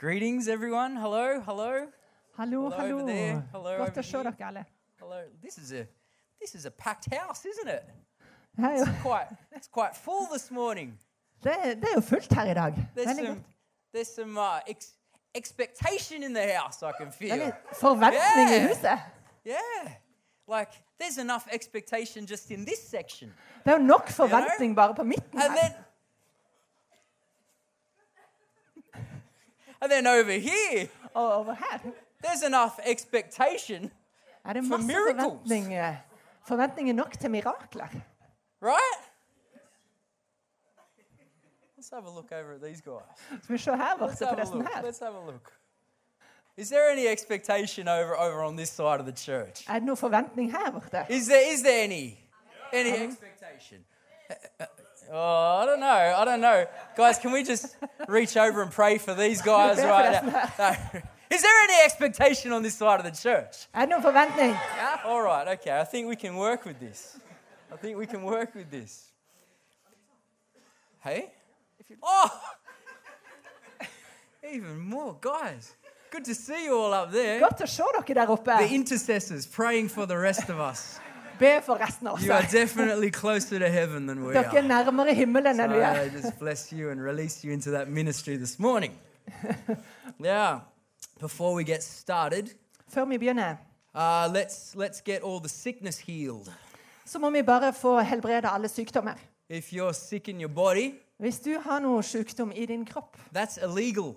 Greetings, everyone. Hello, hello, Hello Hallo, hallo. over there. Hello Godt over å se here. dere alle. hello. This is a this is a packed house, isn't it? Det er, jo, It's quite it's quite full this morning. det, er, det er jo fullt her i dag. There's Veldig some godt. there's some uh, ex- expectation in the house. I can Det er feel. litt forventning i Yeah. huset. Yeah, like there's enough expectation just in this section, Det er jo nok forventning bare på midten and her. then and then over here Og over her there's enough expectation, er det For masse miracles. forventning. eh, Forventninger nok til mirakler. right? Let's have a look over at these guys. Skal vi se her Let's borte på have a det som look. her. Let's have a look. Is there any expectation over over on this side of the church? Er det noe forventning her borte? Is there is there any any expectation? Oh, I don't know. I don't know. Guys, can we just reach over and pray for these guys Pray for right us now? No. Is there any expectation on this side of the church? Er det noe forventning? Ah, All right, okay. I think we can work with this. I think we can work with this. Hey? Oh! Even more, guys. Good to see you all up there. Godt å se dere der oppe. The intercessors praying for the rest of us. Be for resten av You are oss. altså. definitely closer to heaven than we Dere er are. nærmere himmelen enn vi I er. just bless you and release you into that ministry this morning. Now, before we get started, Før vi begynner, uh, let's let's get all the sickness healed. så må vi bare få helbrede alle sykdommer. If you're sick in your body, Hvis du har noe sykdom i din kropp, That's illegal.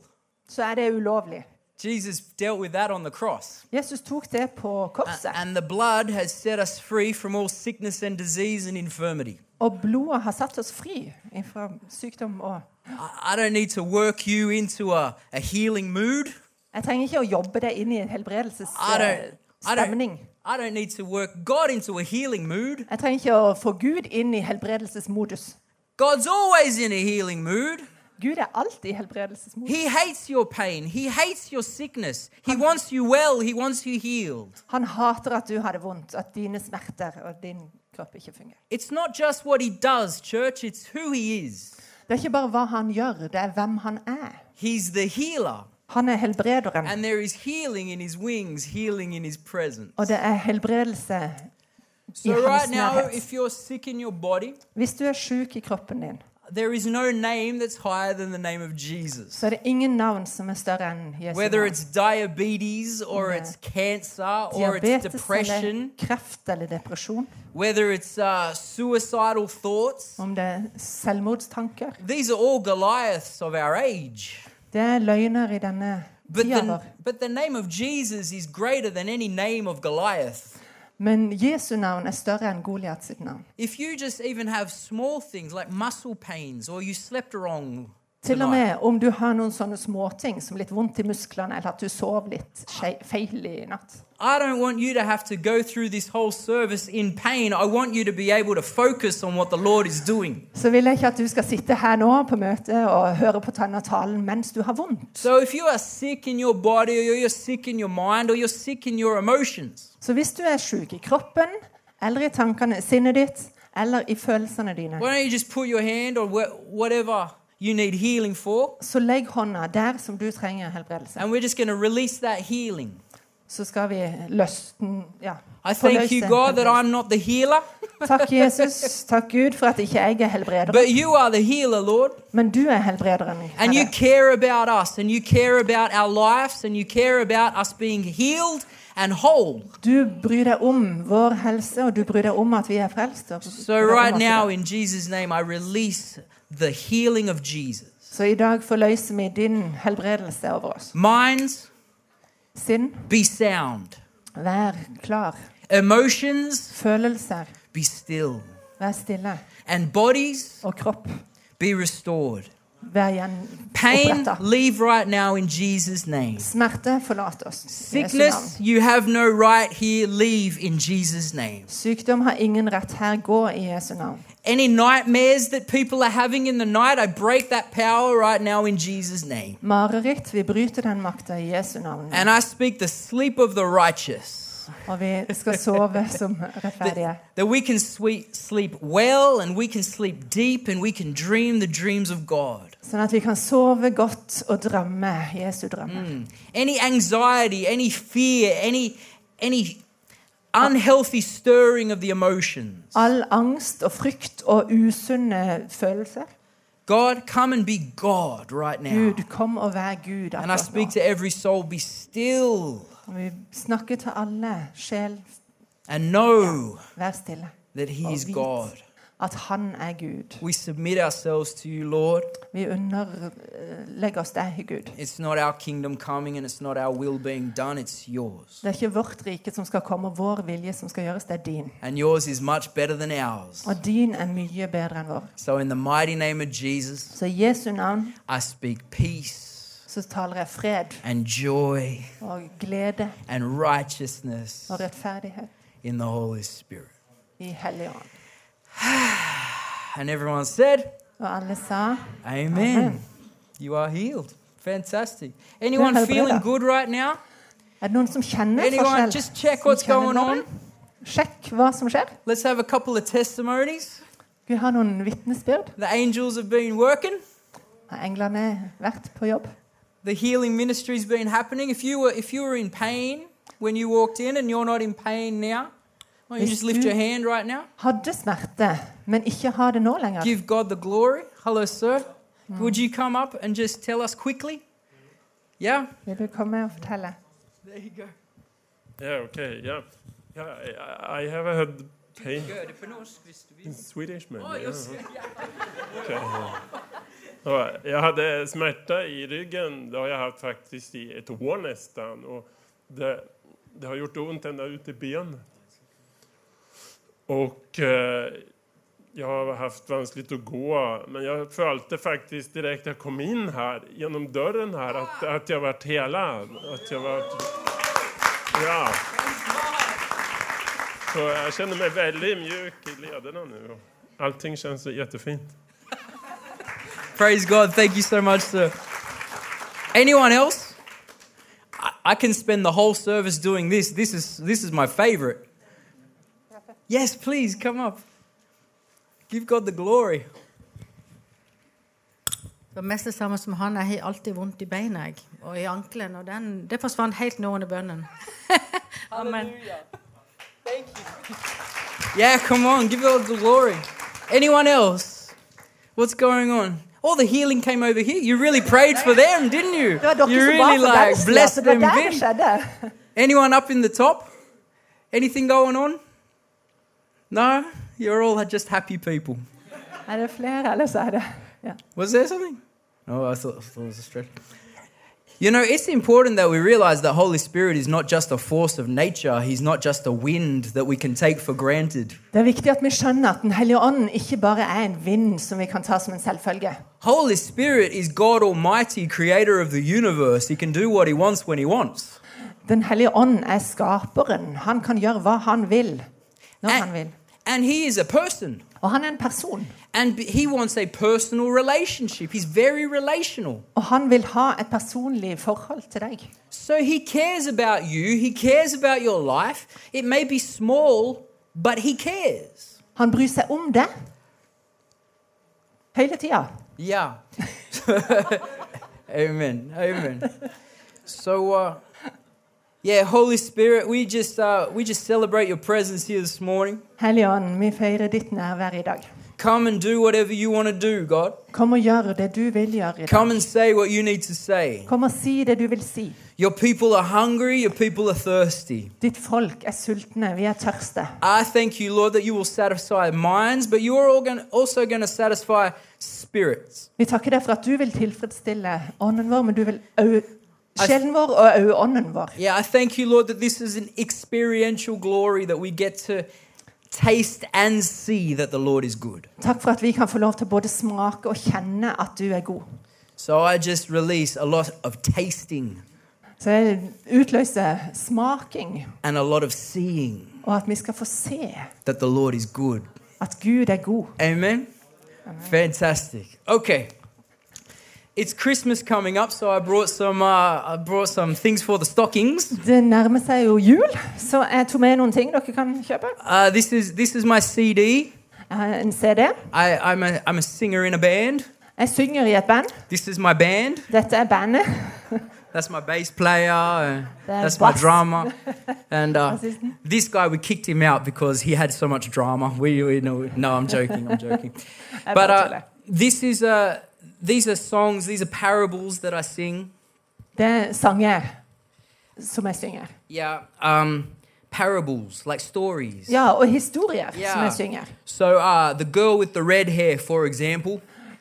så er det ulovlig. Jesus dealt with that on the cross. Jesus tok det på korset, And the blood has set us free from all sickness and disease and infirmity. og blodet har satt oss fri fra sykdom og I I don't need to work you into a, a healing mood. Jeg trenger ikke å jobbe det inn i I en uh, don't, I, helbredelsesstemning. don't, I don't need to work God into a healing mood. Jeg trenger ikke å få Gud inn i helbredelsesmodus. God's always in a healing mood. Gud er alltid i helbredelsesmodus. He hates your pain. He hates your sickness. He wants you well. He wants you healed. Han hater at du har det vondt, at dine smerter og din kropp ikke fungerer. It's not just what he does, church, it's who he is. Det er ikke bare hva han gjør, det er hvem han er. He's the healer. Han er helbrederen, And there is healing in his wings, healing in his presence. og det er helbredelse i So, right hans now, nærhet. if you're sick in your body, Hvis du er sjuk i kroppen din, there is no name that's higher than the name of Jesus. så er det ingen navn som er større enn Jesu Whether navn. it's diabetes or Yeah. it's cancer or it's Diabetes eller depression, kreft eller depresjon, whether it's uh, suicidal thoughts, om det er selvmordstanker. these are all Goliaths of our age. Det er løgner i denne But tida the, vår. but the name of Jesus is greater than any name of Goliath. Men Jesu navn er større enn Goliat sitt navn. If you just even have small things like muscle pains or you slept wrong Til og tonight, med om du har noen sånne småting som litt vondt i musklene, eller at du sov litt skje- feil i natt. I don't want you to have to go through this whole service in pain. I want you to be able to focus on what the Lord is doing. Så vil jeg ikke at du skal sitte her nå på møtet og høre på denne talen mens du har vondt. So if you are sick in your body, or you're sick in your mind, or you're sick in your emotions, Så hvis du er sjuk i kroppen, eller i tankene, sinnet ditt, eller i følelsene dine, why don't you just put your hand on wh- whatever you need healing for, så legg hånda der som du trenger helbredelse. and we're just going to release that healing. Så skal vi løsten Ja. I thank forløse you, God, that helbredelse. I'm not the healer, Takk, Jesus. Takk, Gud, for at ikke jeg er helbreder, but you are the healer, Lord. men du er helbrederen. And you Herre. care about us, and you care about our lives, and you care about us being healed and whole. Du bryr deg om vår helse, og du bryr deg om at vi er frelst. og So bryr deg om right oss i now, dag. in Jesus' name, I release the healing of Jesus. Så i dag forløser vi din helbredelse over oss. Minds, Sinn, be sound. vær klar. Emotions, Følelser, be still. vær stille. And bodies, Og kropp, be restored. vær igjen Pain, oppretta. leave right now in Jesus' name. Smerte, forlat oss. I Jesu Sickness, navn. you have no right here, leave in Jesus' name. Sykdom har ingen rett her. Gå i Jesu navn. Any nightmares that people are having in the night, I break that power right now in Jesus' name. Mareritt, vi bryter den makta i Jesu navn. And I speak the sleep of the righteous. Og vi skal sove som rettferdige. That we can sweet, sleep well and we can sleep deep and we can dream the dreams of God. Sånn at vi kan sove godt og drømme Jesu drømmer. Mm. Any anxiety, any fear, any, any unhealthy stirring of the emotions. All angst og frykt og usunne følelser. God, come and be God right now. Gud, kom og vær Gud. And I akkurat speak nå. to every soul be still Og vi snakker til alle. Sjel, and know vær stille. that He is Of it. God. At Han er Gud. We submit ourselves to you, Lord. Vi underlegger oss deg, Gud. It's not our kingdom coming and it's not our will being done, it's yours. Det er ikke vårt rike som skal komme, og vår vilje som skal gjøres, det er din. And yours is much better than ours. Og din er mye bedre enn vår. So, in the mighty name of Jesus, Så i Jesu navn I speak peace så taler jeg fred and joy og glede and righteousness og rettferdighet in the Holy Spirit. i Helligånd. And everyone said, Og alle sa Amen. Amen. You are healed. Fantastic. Anyone helbreda. feeling good right now? Er det noen som kjenner Anyone forskjell? just check Som what's kjenner going on? nåden? Sjekk hva som skjer. Let's have a couple of testimonies. Vi har noen vitnesbyrd. The angels have been working. Har englene vært på jobb? The healing ministry's been happening. If you were if you were in pain when you walked in and you're not in pain now, why don't you Yes, just lift you- your hand right now? Hadde smerte, men ikke har det nå lenger. Give God the glory. Hello, sir. Would you come up and just tell us quickly? Yeah? Vil du komme og fortelle? There you go. Yeah, okay, yeah. Yeah, I, I have had pain Good. På norsk, hvis du in vil. Swedish, man. Å, yeah. just- ja. okay. Ja, Jag hade smärta i ryggen, det har jag haft faktiskt i ett år nästan. Och det, det har gjort ont ända ut i benet. Och eh, jag har haft vanskligt att gå, men jag följde faktiskt direkt jag kom in här, genom dörren här, att, att jag varit helad. Att jag varit... Ja. Så jag känner mig väldigt mjuk i lederna nu. och Allting känns jättefint. Praise God. Thank you so much, sir. Anyone else? I, I can spend the whole service doing this. This is this is my favorite. Yes, please come up. Give God the glory. Det var mest det samme som han. Jeg har alltid vondt i beina jeg, og i ankelen. Og den, det forsvant helt nå under bønnen. Amen. Thank you. Yeah, come on, give God the glory. Anyone else? What's going on? All the healing came over here. You really prayed for them, didn't you? Det var dere You som ba really for like deres blessed sida, så det them. var der det big. skjedde. Anyone up in the top? Anything going on? No? You're all just happy people. Er det flere, eller så er det ja. Was there something? No, I thought, I thought it was a stretch. You know, it's important that we realize that Holy Spirit is not just a force of nature, He's not just a wind that we can take for granted. Det er viktig at vi skjønner at Den hellige ånd ikke bare er en vind som vi kan ta som en selvfølge. Holy Spirit is God Almighty, creator of the universe. He can do what He wants when He wants. Den hellige ånd er skaperen. Han kan gjøre hva han vil, når han vil. And, and He is a person. Og han er en person. And b- He wants a personal relationship. He's very relational. Og han vil ha et personlig forhold til deg. So he cares about you, he cares about your life. It may be small, but he cares. Han bryr seg om det hele tida. Yeah. amen. Amen. So uh yeah, Holy Spirit, we just uh we just celebrate your presence here this morning. Hellige ånd, vi feirer ditt nærvær i dag. Come and do whatever you want to do, God. Kom og gjør det du vil gjøre i dag. Come and say what you need to say. Kom og si det du vil si. Your people are hungry, your people are thirsty. Ditt folk er sultne, vi er tørste. I thank you, Lord, that you will satisfy minds, but you are all gonna- also going to satisfy spirits. Vi takker deg for at du vil tilfredsstille ånden vår, men du vil au sjelen vår og au ånden vår. Yeah, I thank you, Lord, that this is an experiential glory that we get to taste and see that the Lord is good. Takk for at vi kan få lov til både smake og kjenne at du er god. So I just release a lot of tasting Så jeg utløser smaking, and a lot of seeing og at vi skal få se that the Lord is good. at Gud er god. Amen. Fantastic. Okay. It's Christmas coming up, so I brought some uh, I brought some things for the stockings. Det nærmer seg jo jul, så jeg tok med noen ting dere kan kjøpe. Uh, this is this is my CD. Jeg har en CD. I, I'm a I'm a singer in a band. Jeg synger i et band. This is my band. Dette er bandet. That's my bass player. uh, That's my bass. drama. And uh, Bassisten. this guy, we kicked him out because he had so much drama. We, we know. No, I'm joking. I'm joking. Jeg but uh, bare tuller. this is uh, these are songs. These are parables that I sing. Det er sanger som jeg synger. Yeah. Um, parables like stories. Ja, og historier Ja. som jeg synger. So uh, the girl with the red hair, for example,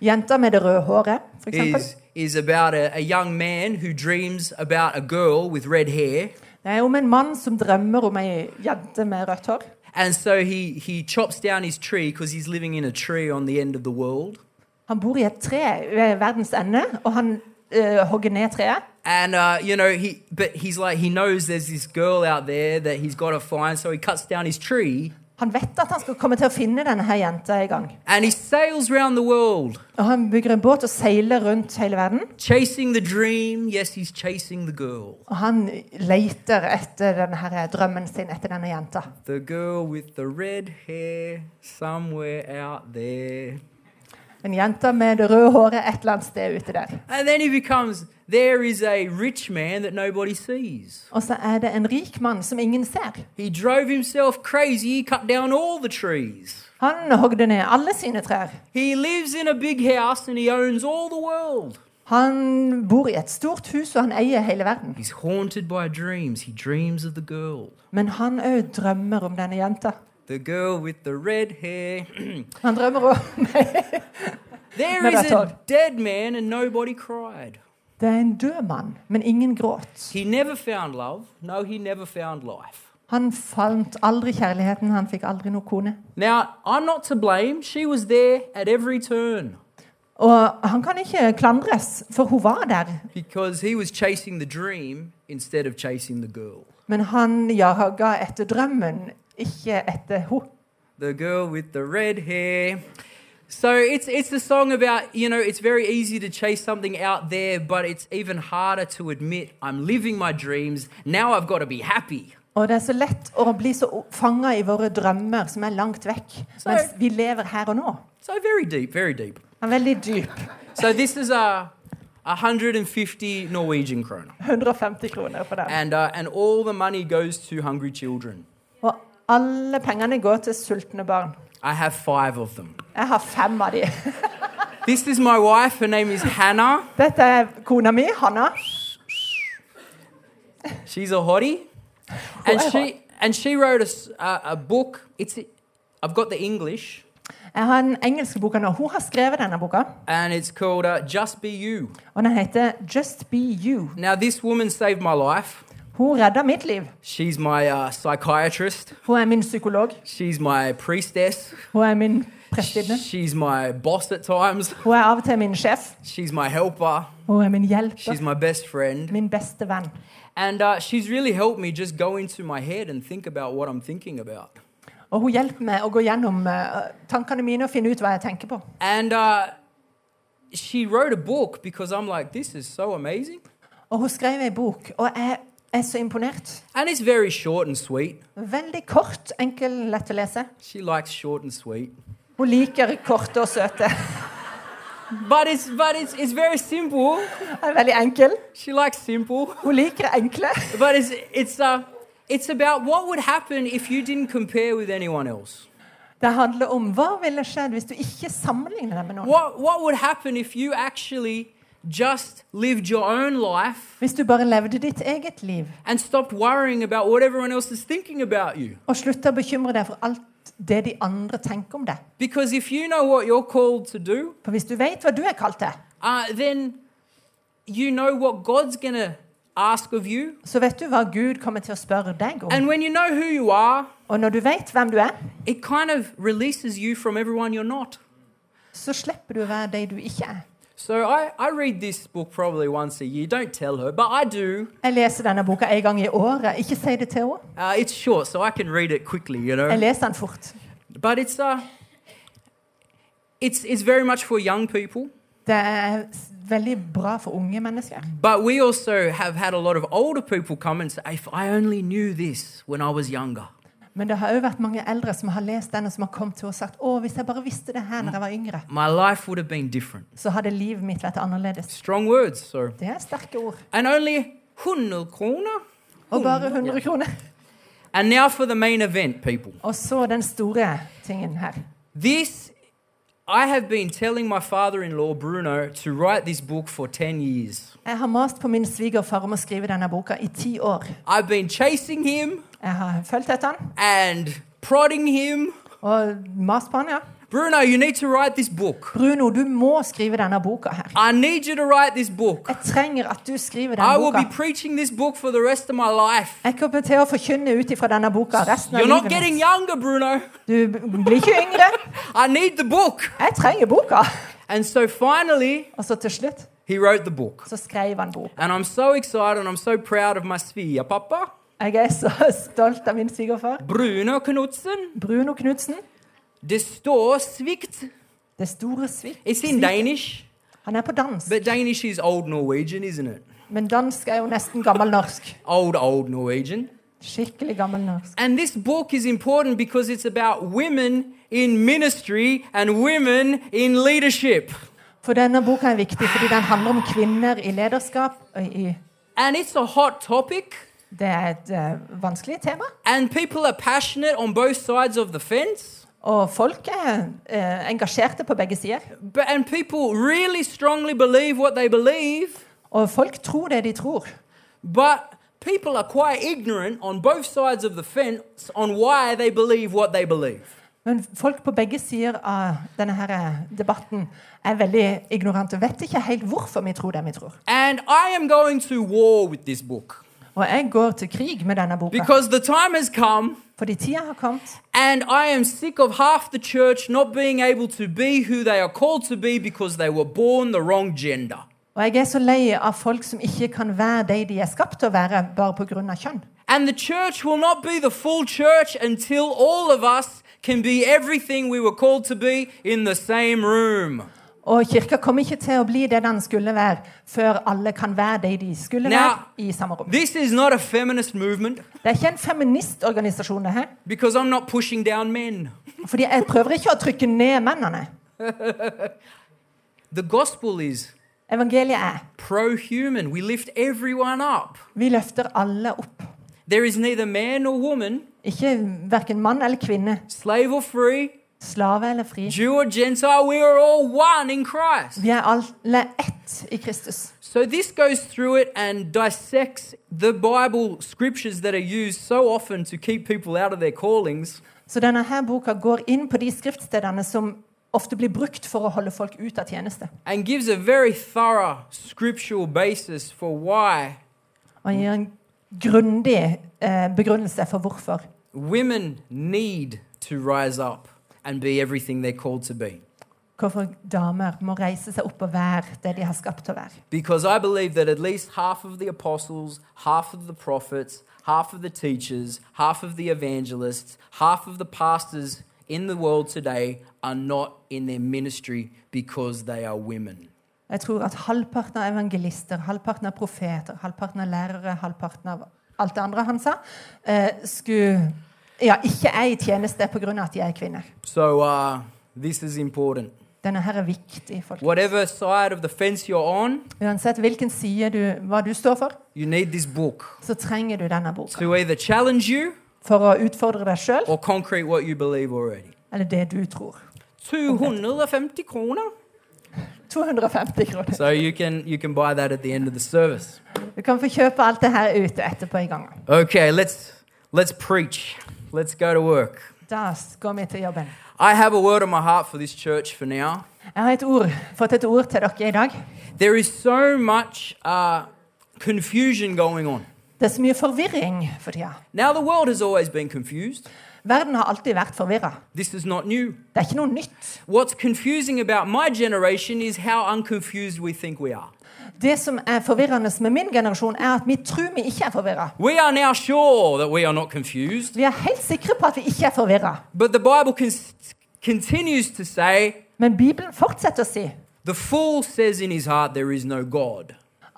Jenta med det røde håret, for eksempel. is is about a, a young man who dreams about a girl with red hair. Det er om en mann som drømmer om ei jente med rødt hår. And so he, he chops down his tree because he's living in a tree on the end of the world. Han bor i et tre ved verdens ende, og han eh, hogger ned treet. And uh, you know he, but he's like he knows there's this girl out there that he's got to find. So he cuts down his tree Han vet at han skal komme til å finne denne her jenta en gang. and he sails round the world, Og han bygger en båt og seiler rundt hele verden. chasing the dream. Yes, he's chasing the girl, Og han leter etter denne her drømmen sin, etter denne jenta. the girl with the red hair somewhere out there. En jente med det røde håret et eller annet sted ute der. And then he becomes there is a rich man that nobody sees. Og så er det en rik mann som ingen ser. He drove himself crazy. He cut down all the trees. Han hogde ned alle sine trær. He lives in a big house and he owns all the world. Han bor i et stort hus, og han eier hele verden. He's haunted by dreams. He dreams of the girl. Men han òg drømmer om denne jenta. The girl with the red hair. Han drømmer om there Never is a thought. dead man and nobody cried. Det er en død mann, men ingen gråt. He never found love. No, he never found life. Han fant aldri kjærligheten, han fikk aldri noen kone. Now, I'm not to blame. She was there at every turn Og han kan ikke klandres, for hun var der. because he was chasing the dream instead of chasing the girl. Men han jaga etter drømmen, ikke etter hun. The girl with the red hair. So it's it's a song about, you know, it's very easy to chase something out there, but it's even harder to admit I'm living my dreams. Now I've got to be happy. Og det er så lett å bli så fanga i våre drømmer som er langt vekk, mens vi lever her og nå. So very deep, very deep. Han er veldig dyp. So this is a 150 Norwegian kroner. 150 kroner for den. And uh, and all the money goes to hungry children. Og alle pengene går til sultne barn. I have 5 of them. Jeg har fem av de. This is my wife, her name is Hannah. Dette er kona mi, Hanna. She's a hottie, and she and she wrote a, s- a- a book. It's I've got the English, Jeg har den engelske boka nå. Hun har skrevet denne boka, and it's called uh, "Just Be You." og den heter Just Be You. Now, this woman saved my life. Hun redda mitt liv. She's my uh, psychiatrist. Hun er min psykolog. She's my priestess. Hun er min prestinne. She's my boss at times. Hun er av og til min sjef. She's my helper. Hun er min hjelper. She's my best friend. Min beste venn. And uh, she's really helped me just go into my head and think about what I'm thinking about. Og hun hjelper meg å gå gjennom eh, tankene mine og finne ut hva jeg tenker på. And uh, she wrote a book because I'm like, this is so amazing. Og hun skrev ei bok, og jeg er så imponert. And it's very short and sweet. Veldig kort, enkel, lett å lese. She likes short and sweet. Hun liker korte og søte. But it's but it's it's very simple. Hun er veldig enkel. She likes simple. Hun liker enkle. But it's it's uh it's about what would happen if you didn't compare with anyone else. Det handler om hva ville skjedd hvis du ikke sammenligner deg med noen. What what would happen if you actually just lived your own life Hvis du bare levde ditt eget liv and stopped worrying about what everyone else is thinking about you? og slutta å bekymre deg for alt det de andre tenker om deg. Because if you know what you're called to do, For hvis du vet hva du er kalt til, uh, then you know what God's gonna ask of you. så vet du hva Gud kommer til å spørre deg om. And when you know who you are, Og når du vet hvem du er, it kind of releases you from everyone you're not. så slipper du å være de du ikke er. So I, I read this book probably once a year. Don't tell her, but I do. Jeg leser denne boka en gang i året. Ikke si det til henne. Uh, it's short, so I can read it quickly, you Jeg know. leser den fort. But it's uh, it's it's very much for young people. Det er s- veldig bra for unge mennesker. But we also have had a lot of older people come and say, if I only knew this when I was younger. Men det har òg vært mange eldre som har lest den, og som har kommet til og sagt å, hvis jeg bare visste det her når jeg var yngre, my life would have been different. så hadde livet mitt vært annerledes. Strong words, so. Det er sterke ord. And only 100 kroner. Og bare 100 kroner. And now for the main event, people. Og så den store tingen her. This, I have been telling my father in law, Bruno, to write this book for 10 years. Jeg har mast på min svigerfar om å skrive denne boka i ti år. I've been chasing him Jeg har fulgt etter han and prodding him. og mast på han, ja. Bruno, you need to write this book. Bruno, du må skrive denne boka her. I need you to write this book. Jeg trenger at du skriver I denne will be boka. preaching this book for the rest of my life. Jeg kommer til å forkynne ut ifra denne boka resten av You're not livet getting mitt. younger, Bruno. Du b- blir ikke yngre. I need the book. Jeg trenger boka. And so finally, Og så til slutt he wrote the book. så skrev han bok. And I'm so excited and I'm so proud of my svia papa, Jeg er så stolt av min svigerfar. Bruno Knudsen. Bruno Knudsen. Det står svikt. Det store svik. It's in Danish, Han er på dans, but Danish is old Norwegian, isn't it? men dansk er jo nesten gammel norsk. Old, old Norwegian. Skikkelig gammel norsk. And this book is important because it's about women in ministry and women in leadership. For denne boka er viktig fordi den handler om kvinner i lederskap. og i And it's a hot topic, Det er et eh, vanskelig tema. and people are passionate on both sides of the fence, Og folk er eh, engasjerte på begge sider. but, and people really strongly believe what they believe. Og folk tror det de tror. But people are quite ignorant on both sides of the fence on why they believe what they believe. Men folk på begge sider av denne her eh, debatten er veldig ignorante. Vet ikke helt hvorfor vi tror det vi tror. And I am going to war with this book Og jeg går til krig med denne boka. because the time has come Fordi tida har kommet. and I am sick of half the church not being able to be who they are called to be because they were born the wrong gender. Og jeg er så lei av folk som ikke kan være de de er skapt til å være, bare pga. kjønn. And the church will not be the full church until all of us can be everything we were called to be in the same room. Og kirka kommer ikke til å bli det den skulle være, før alle kan være de de skulle Now- være, i samme rom. This is not a feminist movement Det er ikke en feministorganisasjon, det her. because I'm not pushing down men. Fordi jeg prøver ikke å trykke ned mennene. The gospel is Evangeliet er pro human. We lift everyone up. vi løfter alle opp. There is neither man nor woman, Ikke verken mann eller kvinne, slave or free, slave eller fri. Jew or Gentile. We are all one in Christ. Vi er alle ett i Kristus. So this goes through it and dissects the Bible scriptures that are used so often to keep people out of their callings. Så denne her boka går inn på de skriftstedene som ofte blir brukt for å holde folk ut av tjeneste. And gives a very thorough scriptural basis for why Og gir en grundig eh, begrunnelse for hvorfor women need to rise up and be everything they're called to be. hvorfor damer må reise seg opp og være det de har skapt til å være. Because I believe that at least half of the apostles, half of the prophets, half of the teachers, half of the evangelists, half of the pastors in the world today are not in their ministry because they are women. Jeg tror at halvparten av evangelister, halvparten av profeter, halvparten av lærere, halvparten av alt det andre han sa, eh, skulle ja, ikke er i tjeneste pga. at de er kvinner. So uh, this is important. Denne her er viktig. folk. Whatever side of the fence you're on, Uansett hvilken side du, hva du står for, you need this book så trenger du denne boka to either challenge you for å utfordre deg sjøl or concrete what you believe already. eller det du tror. 250 kroner. 250 kroner. So you can you can buy that at the end of the service. Du kan få kjøpe alt det her ute etterpå i gangen. Okay, let's let's preach. Let's go to work. Da går vi til jobben. I have a word on my heart for this church for now. Jeg har et ord, fått et ord til dere i dag. There is so much uh, confusion going on. Det er så mye forvirring for tida. Now the world has always been confused. Verden har alltid vært forvirra. This is not new. Det er ikke noe nytt. What's confusing about my generation is how unconfused we think we are. Det som er forvirrende med min generasjon, er at vi tror vi ikke er forvirra. We are now sure that we are not confused, Vi er helt sikre på at vi ikke er forvirra. but the Bible con- continues to say Men Bibelen fortsetter å si The fool says in his heart, There is no God.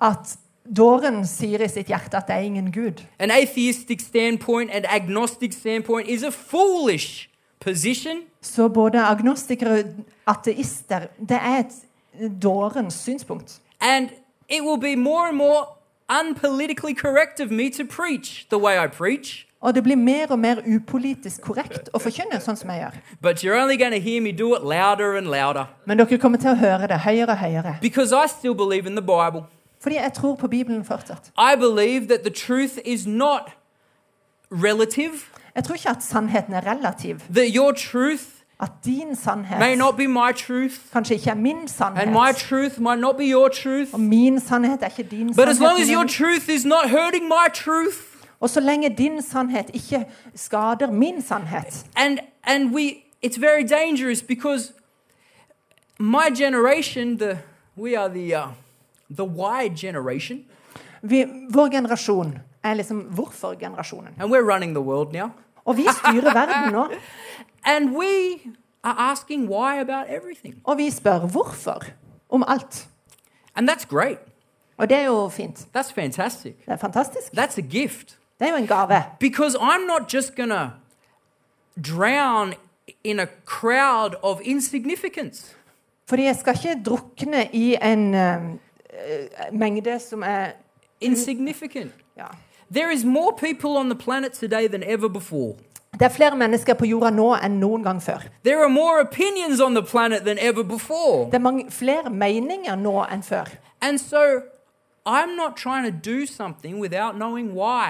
At dåren sier i sitt hjerte at det er ingen Gud. An atheistic standpoint, an agnostic standpoint is a foolish position. Så både agnostikere og ateister Det er et dårens synspunkt. And it will be more and more unpolitically correct of me to preach the way I preach. Og det blir mer og mer upolitisk korrekt å forkynne sånn som jeg gjør. But you're only going to hear me do it louder and louder Men dere kommer til å høre det høyere og høyere. because I still believe in the Bible. Fordi jeg tror på Bibelen fortsatt. I believe that the truth is not relative, Jeg tror ikke at sannheten er relativ. that your truth At din may sannhet not be my truth, kanskje ikke er min and my sannhet. truth might not be your truth. Og min sannhet er ikke din But as long as sannhet. your men- truth is not hurting my truth, Og så lenge din sannhet ikke skader min sannhet. and and we it's very dangerous because my generation the we are the uh, the Y generation Vi, vår generasjon er liksom hvorfor-generasjonen. and we're running the world now Og vi styrer verden nå. and we are asking why about everything Og vi spør hvorfor om alt. and that's great Og det er jo fint. that's fantastic Det er fantastisk. that's a gift Det er jo en gave. because i'm not just going to drown in a crowd of insignificance Fordi jeg skal ikke drukne i en eh, mengde som er insignificant ja. there is more people on the planet today than ever before Det er flere mennesker på jorda nå enn noen gang før. There are more opinions on the planet than ever before. Det er mange, flere meninger nå enn før. And so I'm not trying to do something without knowing why.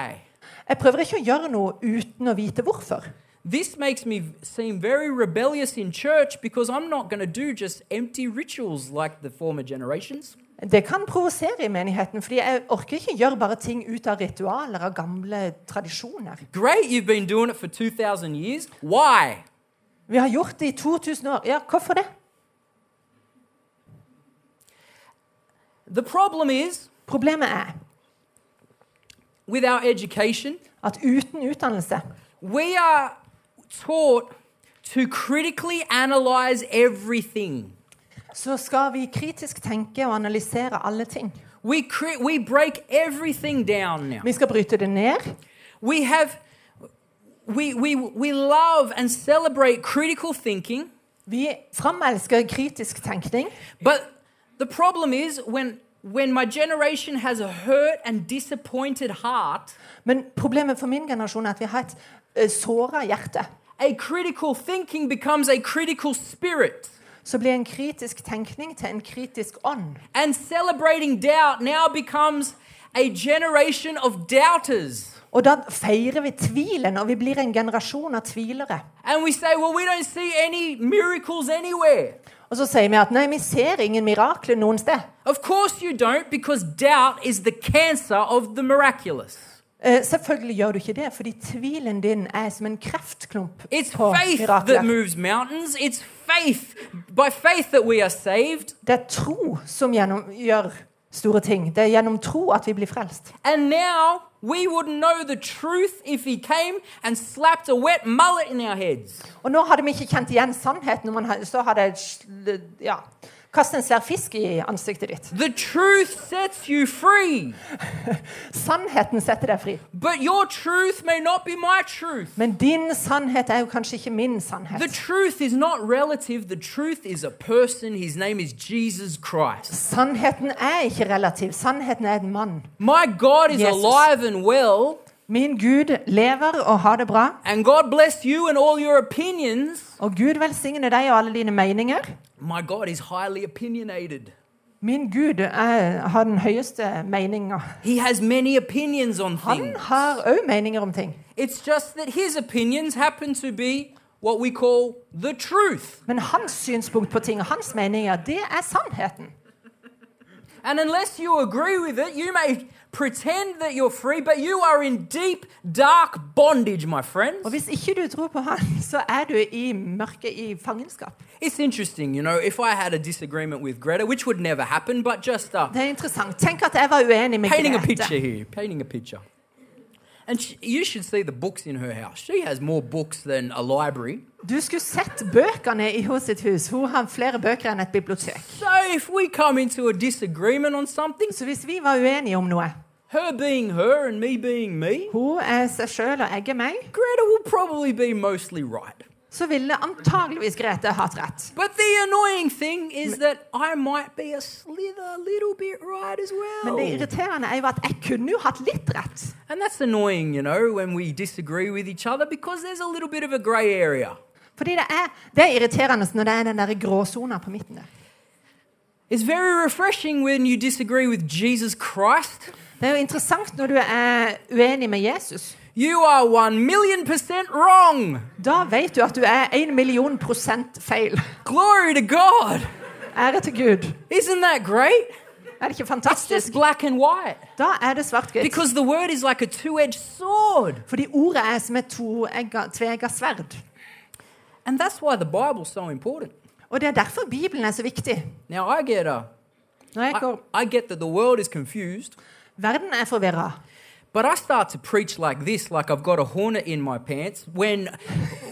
Jeg prøver ikke å gjøre noe uten å vite hvorfor. This makes me seem very rebellious in church because I'm not going to do just empty rituals like the former generations. Det kan provosere i menigheten, fordi jeg orker ikke gjøre bare ting ut av ritualer av gamle tradisjoner. Great, you've been doing it for 2,000 years. Why? Vi har gjort det i 2000 år. Ja, hvorfor det? The problem is Problemet er with our education, at uten utdannelse we are taught to critically analyze everything. så skal vi kritisk tenke og analysere alle ting. We, cri- we break everything down now. Vi skal bryte det ned. We have we we we love and celebrate critical thinking, Vi framelsker kritisk tenkning. but the problem is when when my generation has a hurt and disappointed heart, Men problemet for min generasjon er at vi har et eh, såra hjerte. a critical thinking becomes a critical spirit. Så blir en kritisk tenkning til en kritisk ånd. And celebrating doubt now becomes a generation of doubters. Og da feirer vi tvilen, og vi blir en generasjon av tvilere. And we say, well, we don't see any miracles anywhere. Og så sier vi at nei, vi ser ingen mirakler noen sted. Of course you don't, because doubt is the cancer of the miraculous. Eh, selvfølgelig gjør du ikke det, fordi tvilen din er som en kreftklump It's på faith that mirakler. moves mountains. It's faith, by faith that we are saved. Det er tro som gjennom, gjør store ting. Det er gjennom tro at vi blir frelst. And now we wouldn't know the truth if he came and slapped a wet mullet in our heads. Og nå hadde vi ikke kjent igjen sannheten, men ha- så hadde jeg sl- ja, kastet en svær fisk i ansiktet ditt. The truth sets you free, Sannheten setter deg fri. but your truth may not be my truth. Men din sannhet er jo kanskje ikke min sannhet. The truth is not relative, the truth is a person. His name is Jesus Christ. Sannheten er ikke relativ. Sannheten er en mann. My God is Jesus. alive and well, Min Gud lever og har det bra. and God bless you and all your opinions. Og Gud velsigne deg og alle dine meninger. My God is highly opinionated. Min Gud er, har den høyeste meninga. He has many opinions on Han things. har òg meninger om ting. It's just that his opinions happen to be what we call the truth. Men hans synspunkt på ting og hans meninger, det er sannheten. And unless you agree with it, you may pretend that you're free, but you are in deep, dark bondage, my Og friends. hvis ikke du tror på han, så er du i mørket, i fangenskap. It's interesting, you know, if I had a disagreement with Greta, which would never happen, but just uh, Det er interessant. Tenk at jeg var uenig med painting a Grete. picture here, painting a picture. And she, you should see the books in her house. She has more books than a library. Du skulle sett bøkene i hennes sitt hus. Hun har flere bøker enn et bibliotek. So if we come into a disagreement on something, Så hvis vi var uenige om noe her being her and me being me, Hun er seg sjøl og jeg er meg. Greta will probably be mostly right. Så ville antageligvis Grete hatt rett. But the annoying thing is that I might be a slither little bit right as Men det well. irriterende er jo at jeg kunne jo hatt litt rett. And that's annoying, you know, when we disagree with each other because there's a little bit of a grey area. Fordi det er, det er irriterende når det er den der gråsona på midten der. It's very refreshing when you disagree with Jesus Christ. Det er jo interessant når du er uenig med Jesus. You are one million percent wrong. Da vet du at du er en million prosent feil. Glory to God. Ære til Gud. Isn't that great? Er det ikke It's just fantastisk? black and white. Da er det svart-hvitt. Because the word is like a two edged sword. Fordi ordet er som et toegga- tveegget sverd. And that's why the Bible's so important. Og det er derfor Bibelen er så viktig. Now, I get, uh, Når jeg I, går, I get that the world is confused, verden er forvirra. but I start to preach like this, like I've got a hornet in my pants, when,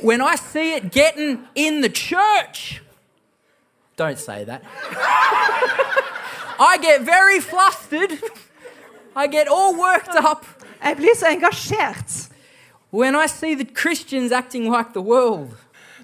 when I see it getting in the church. Don't say that. I get very flustered. I get all worked up Jeg blir så engasjert when I see the Christians acting like the world.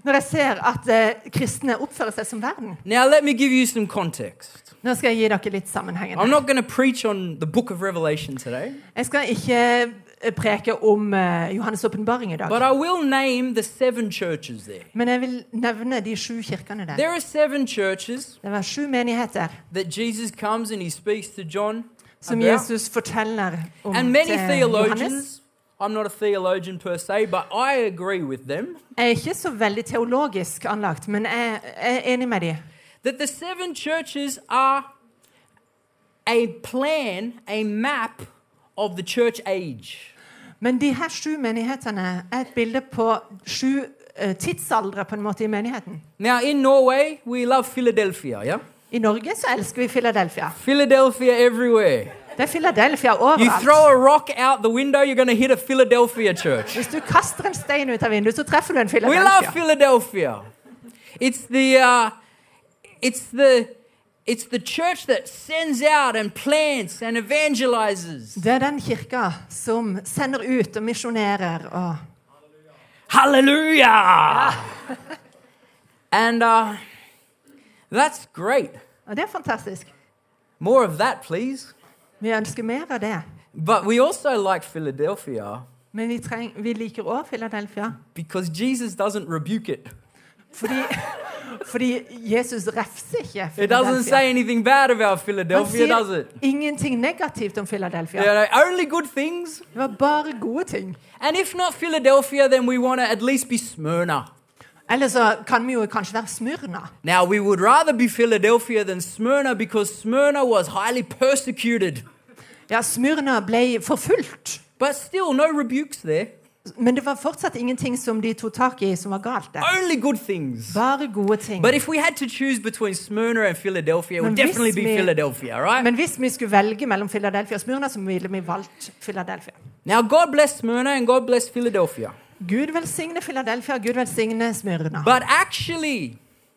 når jeg ser at eh, kristne oppfører seg som verden. Now, let me give you some context. Nå skal jeg gi dere litt sammenhengen. I'm not going to preach on the book of Revelation today, Jeg skal ikke eh, preke om eh, Johannes' åpenbaring i dag. but I will name the seven churches there. Men jeg vil nevne de sju kirkene der. There are seven churches Det var sju menigheter that Jesus comes and he speaks to John som about. Jesus forteller om And many til uh, Johannes. theologians, I'm not a theologian per se, but I agree with them, Jeg er ikke så veldig teologisk anlagt, men jeg jeg er enig med dem. that the seven churches are a plan, a map of the church age. Men de her sju menighetene er et bilde på sju eh, tidsaldre på en måte i menigheten. Now, in Norway, we love Philadelphia, yeah? I Norge så elsker vi Philadelphia. Philadelphia everywhere. Det er Philadelphia You overalt. throw a rock out the window, you're going to hit a Philadelphia church. Hvis du kaster en stein ut av vinduet, så treffer du en We love Philadelphia. Philadelphia. It's the uh, it's the it's the church that sends out and plants and evangelizes. Det er den kirka som sender ut og misjonerer og Hallelujah. and uh, that's great. Og det er fantastisk. More of that, please. Vi ønsker mer av det. But we also like Philadelphia Men vi, treng, vi liker òg Philadelphia. because Jesus doesn't rebuke it. Fordi, fordi Jesus refser ikke It doesn't Philadelphia. say anything bad about Han Philadelphia, does sier it? ingenting negativt om Philadelphia. You know, only good things. Det var bare gode ting. And if not Philadelphia, then we want to at least be Smyrna. Eller så kan vi jo kanskje være Smyrna. Now, we would rather be Philadelphia than Smyrna because Smyrna was highly persecuted. Ja, Smyrna ble forfulgt, But still, no rebukes there. men det var fortsatt ingenting som de tok tak i som var galt der. Only good things. Bare gode ting. But if we had to choose between Smyrna and Philadelphia, it would Men hvis definitely be vi- Philadelphia, right? Men hvis vi skulle velge mellom Philadelphia og Smyrna, så ville vi valgt Philadelphia. Now, God bless Smyrna and God bless Philadelphia. Gud velsigne Philadelphia, Gud velsigne Smyrna. But actually,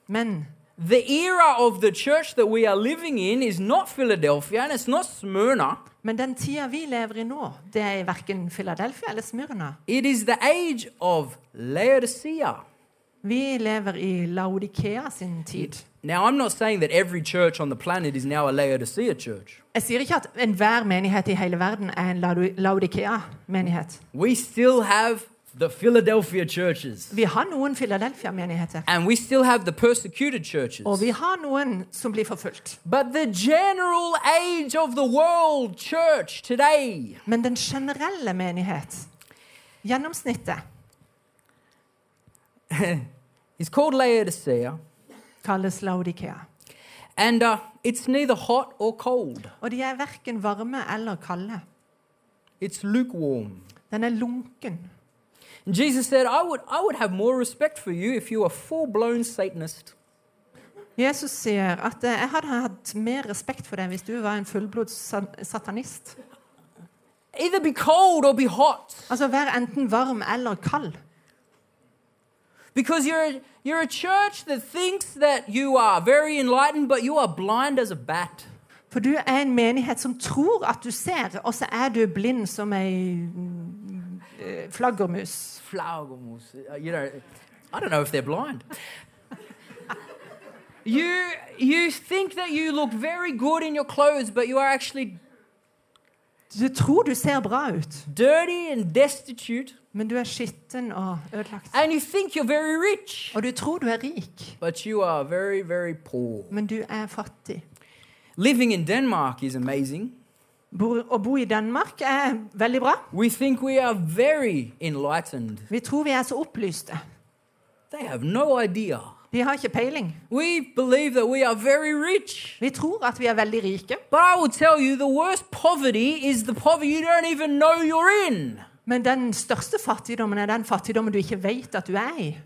Men the era of the church that we are living in is not Philadelphia and it's not Smyrna. Men den tida vi lever i nå, det er verken Philadelphia eller Smyrna. It is the age of Laodicea. Vi lever i Laodikea sin tid. Now, I'm not saying that every church on the planet is now a Laodicea church. Jeg sier ikke at enhver menighet i hele verden er en Lao- Laodikea-menighet. We still have the Philadelphia churches, Vi har noen Philadelphia-menigheter, and we still have the persecuted churches. og vi har noen som blir forfulgt. But the general age of the world church today Men den generelle menighet, gjennomsnittet, is called Laodicea, kalles Laodikea. and uh, it's neither hot or cold, Og de er verken varme eller kalde. it's lukewarm. Den er lunken. And Jesus said, I would, I would have more respect for you if you were full blown Satanist. Jesus sier at eh, jeg hadde hatt mer respekt for deg hvis du var en fullblods sa- satanist. Either be cold or be hot Altså vær enten varm eller kald. because you're a, you're a church that thinks that you are very enlightened, but you are blind as a bat. For du er en menighet som tror at du ser, og så er du blind som ei mm, eh, flaggermus. Flaugermus. Uh, You know, I don't know if they're blind. you you think that you look very good in your clothes, but you are actually Du tror du ser bra ut, dirty and destitute, men du er skitten og ødelagt. and you think you're very rich, Og du tror du er rik, but you are very very poor. men du er fattig. Living in Denmark is amazing. Bo, å bo i Danmark er veldig bra. We think we are very enlightened. Vi tror vi er så opplyste. They have no idea. De har ikke peiling. We believe that we are very rich. Vi tror at vi er veldig rike, But I will tell you the worst poverty is the poverty you don't even know you're in. men den største fattigdommen er den fattigdommen du ikke vet at du er i.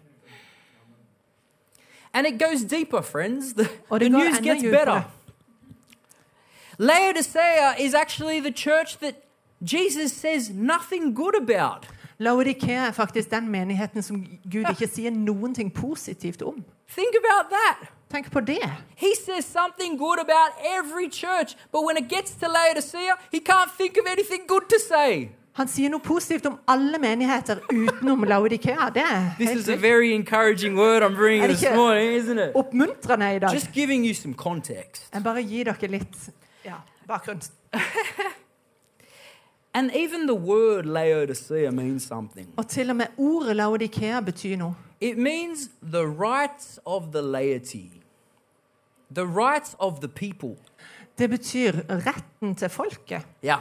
And it goes deeper, friends. The, Og the det går news enda gets djupere. better. Laodicea is actually the church that Jesus says nothing good about. Laodikea er faktisk den menigheten som Gud ikke sier noen ting positivt om. Think about that. Tenk på det. He says something good about every church, but when it gets to Laodicea, he can't think of anything good to say. Han sier noe positivt om alle menigheter utenom Laodikea. Det er This helt is a sykt. very encouraging word I'm bringing And this here- morning, isn't it? oppmuntrende i dag. Just giving you some context. Jeg bare gir dere litt ja, bakgrunn. And even the word Laodicea means something. Og til og med ordet Laodikea betyr noe. It means the rights of the laity, the rights of the people. Det betyr retten til folket. Yeah.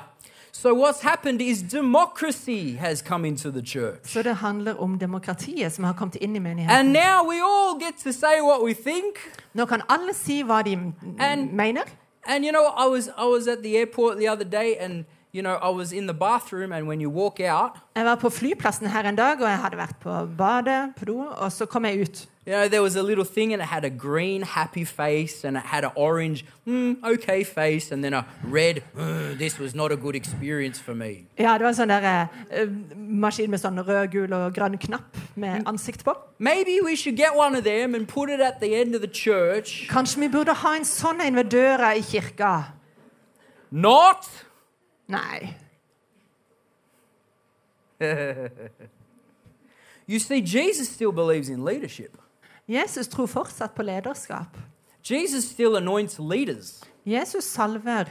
So what's happened is democracy has come into the church. Så det handler om demokratiet som har kommet inn i menigheten. And now we all get to say what we think. Nå kan alle si hva de m- And- mener. And you know, I was I was at the airport the other day and you know, I was in the bathroom and when you walk out, Jeg var på flyplassen her en dag, og jeg hadde vært på badet, på do, og så kom jeg ut. you know, there was a little thing and it had a green happy face and it had an orange mm, okay face and then a red "Ugh, this was not a good experience for me. Ja, det var en sånn der, eh, maskin med sånn rød, gul og grønn knapp med Mm. ansikt på. Maybe we should get one of them and put it at the end of the church. Kanskje vi burde ha en sånn en ved døra i kirka? Not. Nei. You see, Jesus still believes in leadership. Jesus tror fortsatt på lederskap. Jesus still anoints leaders. Jesus salver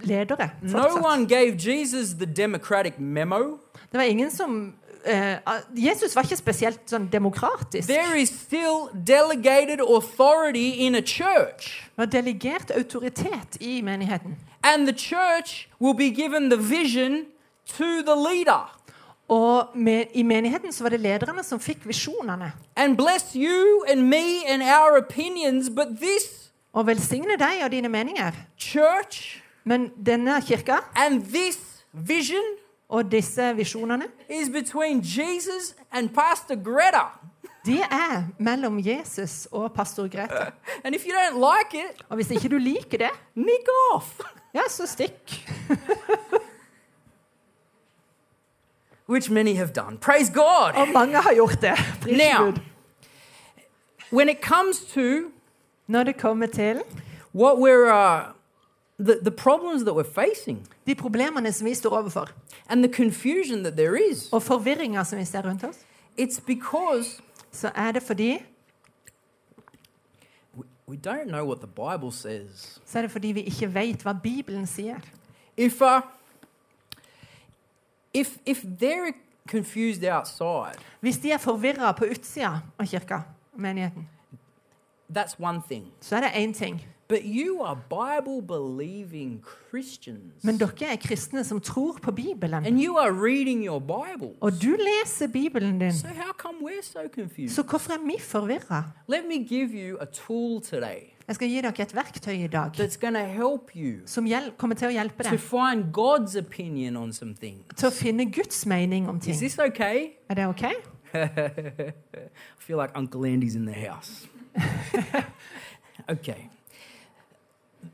ledere. No Fortsatt. one gave Jesus the democratic memo. Det var ingen som eh, Jesus var ikke spesielt sånn demokratisk. There is still delegated authority in a church. Det var delegert autoritet i menigheten. And the church will be given the vision to the leader. Og med, i menigheten så var det lederne som fikk visjonene. And bless you and me and our opinions, but this Og velsigne deg og dine meninger. church Men denne kirka and this vision og disse visjonene, is between Jesus and Pastor Greta. de er mellom Jesus og pastor Grete. And if you don't like it, Og hvis ikke du liker det, nick off. ja, så stikk. Which many have done. Praise God. Og mange har gjort det. Pris Now, Gud. when it comes to Når det kommer til what we're, uh, the, the problems that we're facing de problemene som vi står overfor, and the confusion that there is, og forvirringa som vi ser rundt oss, it's because så er det fordi, we, we don't know what the Bible says. så er det fordi vi ikke vet hva Bibelen sier. If, uh, if, if they're confused outside, Hvis de er forvirra på utsida av kirka, menigheten, that's one thing. så er det én ting. But you are Bible believing Christians. Men dere er kristne som tror på Bibelen. And you are reading your Bible. Og du leser Bibelen din. So how come we're so confused? Så hvorfor er vi forvirra? Let me give you a tool today Jeg skal gi dere et verktøy i dag that's going to help you som hjel kommer til å hjelpe to deg find God's opinion on some things. til å finne Guds mening om Is ting. this okay? Er det OK? I feel like Uncle Andy's in the house. okay.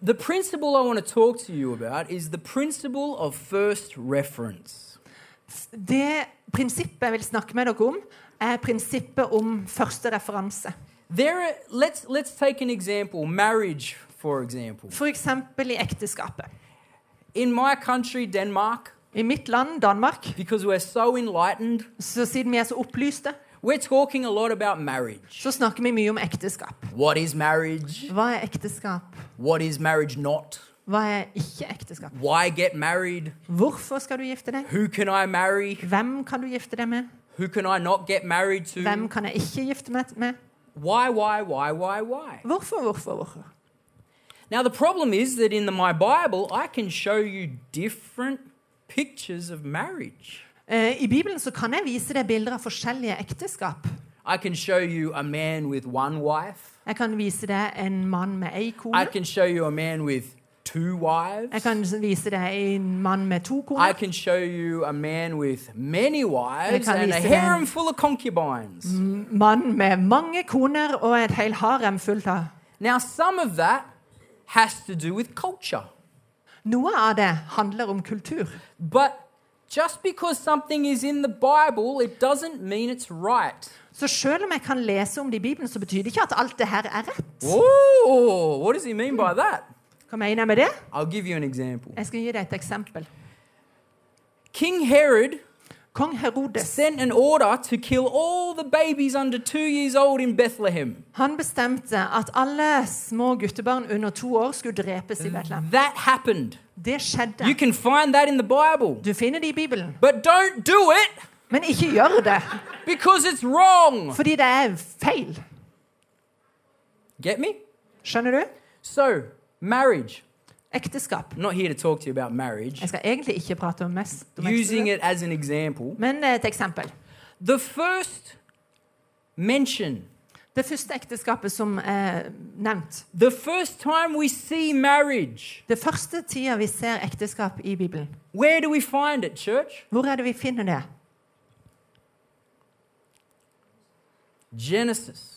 the principle I want to talk to you about is the principle of first reference. Det prinsippet jeg vil snakke med dere om, er prinsippet om første referanse. There are, let's, let's take an example marriage, for example. F.eks. i ekteskapet. In my country, Denmark, I mitt land, Danmark, because we're so enlightened, så siden vi er så opplyste, we're talking a lot about marriage. så snakker vi mye om ekteskap. What is marriage? Hva er ekteskap? What is marriage not? Hva er ikke ekteskap? Why get married? Hvorfor skal du gifte deg? Who can I marry? Hvem kan du gifte deg med? Who can I not get married to? Hvem kan jeg ikke gifte meg med? Why, why, why, why, why? Hvorfor, hvorfor, hvorfor? Now, the problem is that in the, my Bible, I can show you different pictures of marriage. Eh, I Bibelen så kan jeg vise deg bilder av forskjellige ekteskap. I can show you a man with one wife. Jeg kan vise deg en mann med ei I kone. can show you a man with two Jeg wives. kan vise deg en mann med to I koner. can show you a man with many wives kan and a vise harem den. full of concubines. Mann med mange koner og et hel harem fullt av Now, some of that has to do with culture. Noe av det handler om kultur. But just because something is in the Bible, it doesn't mean it's right. Så selv om jeg kan lese om det i Bibelen, så betyr det ikke at alt det her er rett. Ooh, what does he mean by that? Hva mener jeg med det? I'll give you an example. Jeg skal gi deg et eksempel. King Herod Kong Herodes sent an order to kill all the babies under two years old in Bethlehem. han bestemte at alle små guttebarn under to år skulle drepes i Betlehem. That happened. Det skjedde. You can find that in the Bible. Du finner det i Bibelen. But don't do it Men ikke gjør det, because it's wrong. fordi det er feil. Get me? Skjønner du? So, marriage. Ekteskap. I'm not here to talk to you about marriage. Jeg skal egentlig ikke prate om mest om Using ekteskap, it as an example, men eh, et eksempel. the first mention Det første ekteskapet som er nevnt. The first time we see marriage, Det første tida vi ser ekteskap i Bibelen. where do we find it, church? Hvor er det vi finner det? Genesis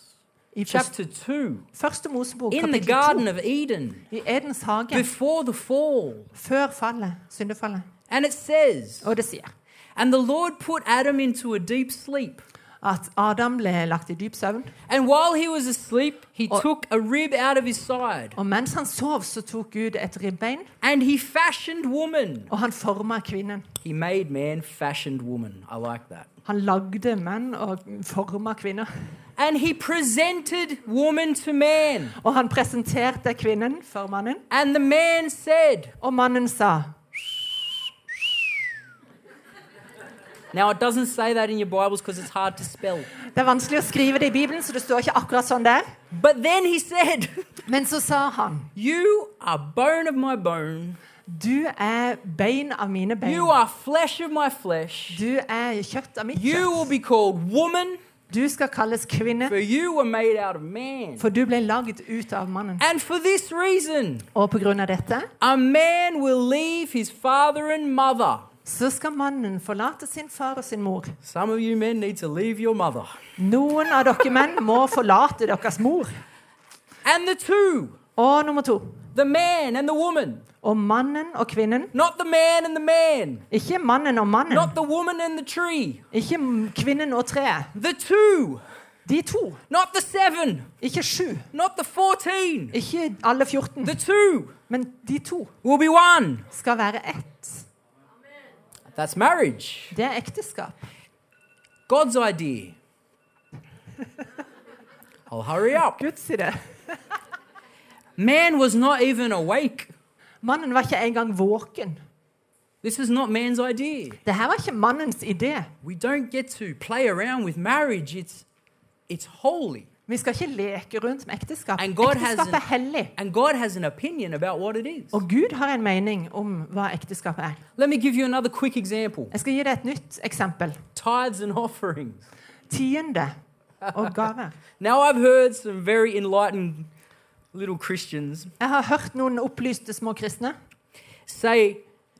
I første, chapter 2, første Mosebok, in the kapittel Garden 2. of Eden, I Edens hage, before the fall. før fallet, syndefallet. And it says, Og det sier And the Lord put Adam into a deep sleep. at Adam ble lagt i dyp søvn, And while he was asleep, he Oh. took a rib out of his side, og mens han sov, så tok Gud et ribbein, and he fashioned woman. og han forma kvinnen. He made man fashioned woman. I like that. Han lagde menn og forma kvinner. And he presented woman to man. Og han presenterte kvinnen for mannen, And the man said, og mannen sa Now, it doesn't say that in your Bibles because it's hard to spell. Det er vanskelig å skrive det i Bibelen, så det står ikke akkurat sånn der. But then he said, Men så sa han You are bone of my bone, Du er bein av mine bein. you are flesh of my flesh. Du er kjøtt av mitt You will kjøtt. be called woman, Du skal kalles kvinne, for you were made out of man. for du ble lagd ut av mannen. And for this reason, Og på grunn av dette a man will leave his father and mother. så skal mannen forlate sin far og sin mor. Some of you men need to leave your mother. Noen av dere menn må forlate deres mor. And the two, Og nummer to the man and the woman, og mannen og kvinnen. not the man and the man, Ikke mannen og mannen, not the woman and the tree. ikke m- kvinnen og treet. The two, De to, not the seven, ikke sju. not the 14. Ikke alle 14, The two men de to will be one. skal være ett. That's marriage. Det er ekteskap. God's idea. I'll hurry up. Guds idé. Man was not even awake. Mannen var ikke engang våken. This is not man's idea. Det her var ikke mannens idé. We don't get to play around with marriage. It's it's holy. Vi skal ikke leke rundt med ekteskap. And God has Ekteskap an- er hellig. And God has an opinion about what it is. Og Gud har en mening om hva ekteskap er. Let me give you another quick example. Jeg skal gi deg et nytt eksempel. Tithes and offerings. Tiende og gaver. Now I've heard some very enlightened little Christians Jeg har hørt noen opplyste små kristne say,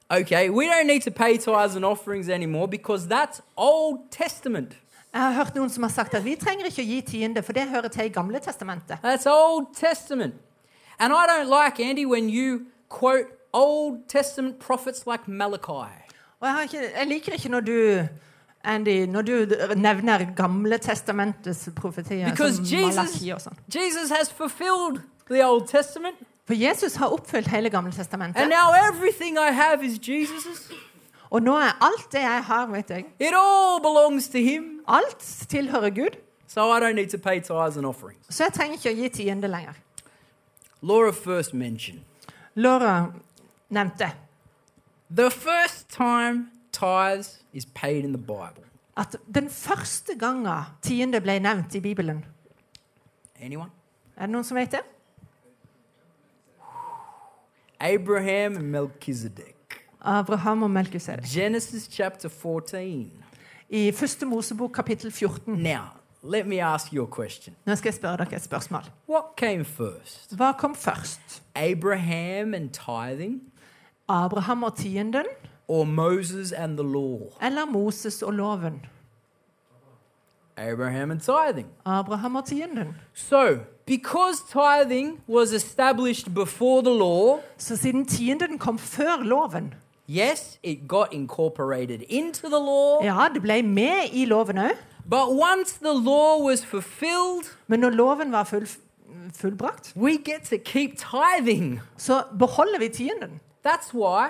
okay, we don't need to pay tithes and offerings anymore because that's Old Testament. Jeg har hørt noen som har sagt at vi trenger ikke å gi tiende, for det hører til i Gamle testamentet. That's Old Testament. And I don't like, Andy, when you quote Old Testament prophets like Malachi. Og jeg, har ikke, jeg liker ikke når du Andy, når du d- nevner gamle testamentets profetier Because som Jesus, Malaki og sånn. Jesus has fulfilled the Old Testament. For Jesus har oppfylt hele gamle testamentet. And now everything I have is Jesus's. Og nå er alt det jeg har, vet jeg, It all belongs to him. alt tilhører Gud. So I don't need to pay tithes and offerings. Så jeg trenger ikke å gi tiende lenger. Law of first mention. Laura nevnte The first time tithes is paid in the Bible. at den første gangen tiende ble nevnt i Bibelen Anyone? Er det noen som vet det? Abraham and Melchizedek. Abraham og Melkusedek. Genesis chapter 14. I første Mosebok kapittel 14. Now, let me ask you a question. Nå skal jeg spørre dere et spørsmål. What came first? Hva kom først? Abraham and tithing Abraham og tienden or Moses and the law? eller Moses og loven? Abraham and tithing. Abraham og tienden. So, because tithing was established before the law, Så siden tienden kom før loven yes, it got incorporated into the law, Ja, det ble med i loven òg, but once the law was fulfilled, men når loven var full, fullbrakt, we get to keep tithing. så beholder vi tienden. That's why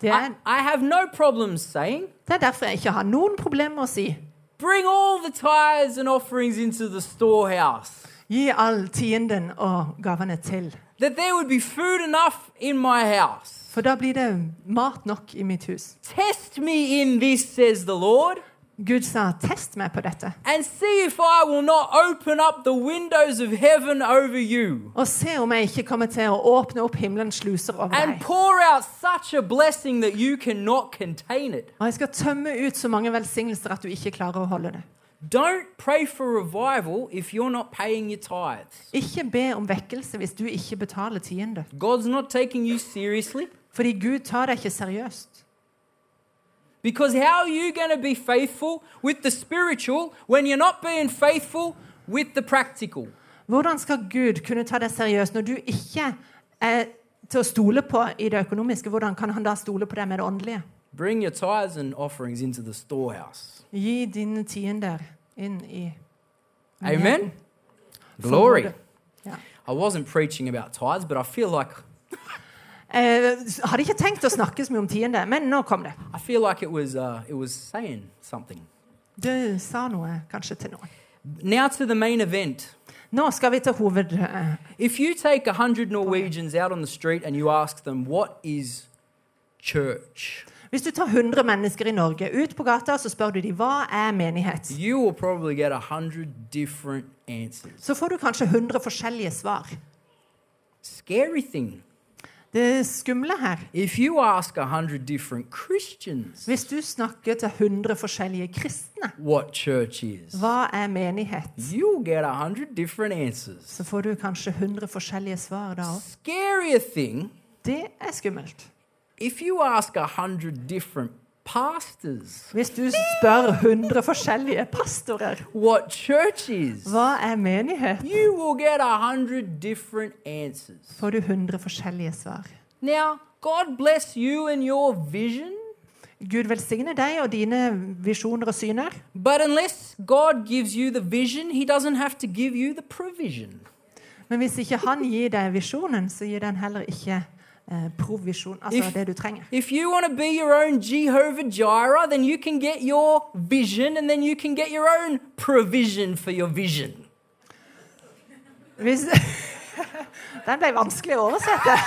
Det I, er, I have no problems saying, det er derfor jeg ikke har noen problemer med å si bring all the tithes and offerings into the storehouse, Gi all tienden og gavene til. that there would be food enough in my house. For da blir det mat nok i mitt hus. Test me in this, says the Lord, Gud sa 'test meg på dette', and see if I will not open up the windows of heaven over you. og se om jeg ikke kommer til å åpne opp himmelens sluser over and deg. pour out such a blessing that you cannot contain it. Og jeg skal tømme ut så mange velsignelser at du ikke klarer å holde det. Don't pray for revival if you're not paying your tithes. Ikke be om vekkelse hvis du ikke betaler tiende. God's not taking you seriously Fordi Gud tar deg ikke seriøst. because how are you going to be faithful with the spiritual when you're not being faithful with the practical? Hvordan skal Gud kunne ta deg seriøst når du ikke er til å stole på i det økonomiske? Hvordan kan han da stole på deg med det åndelige? Bring your tithes and offerings into the storehouse. Gi dine tiender inn i Amen. Glory. forrådet. Ja. I wasn't preaching about tithes, but I feel like Eh, hadde ikke tenkt å snakke så mye om tiende, men nå kom det. I feel like it was uh, it was saying something. Du sa noe kanskje til noen. Now to the main event. Nå skal vi til hoved... eh, If you take 100 Norwegians out on the street and you ask them, what is church? Hvis du tar 100 mennesker i Norge ut på gata og så spør du dem hva er menighet, You will probably get 100 different answers. så får du kanskje 100 forskjellige svar. Scary thing. Det skumle her If you ask 100 different Christians Hvis du snakker til 100 forskjellige kristne, what church is, hva er menighet? you'll get 100 different answers. Så får du kanskje 100 forskjellige svar da òg. Scarier thing, Det er skummelt. if you ask 100 different pastors Hvis du spør 100 forskjellige pastorer what church is, hva er menighet, you will get 100 different answers. får du 100 forskjellige svar. Now, God bless you and your vision, Gud velsigne deg og dine visjoner og syner. but unless God gives you the vision, He doesn't have to give you the provision. Men hvis ikke han gir deg visjonen, så gir den heller ikke eh, provisjon, altså If- det du trenger. If you want to be your own Jehovah Jireh, then you can get your vision and then you can get your own provision for your vision. Hvis, den ble vanskelig å oversette.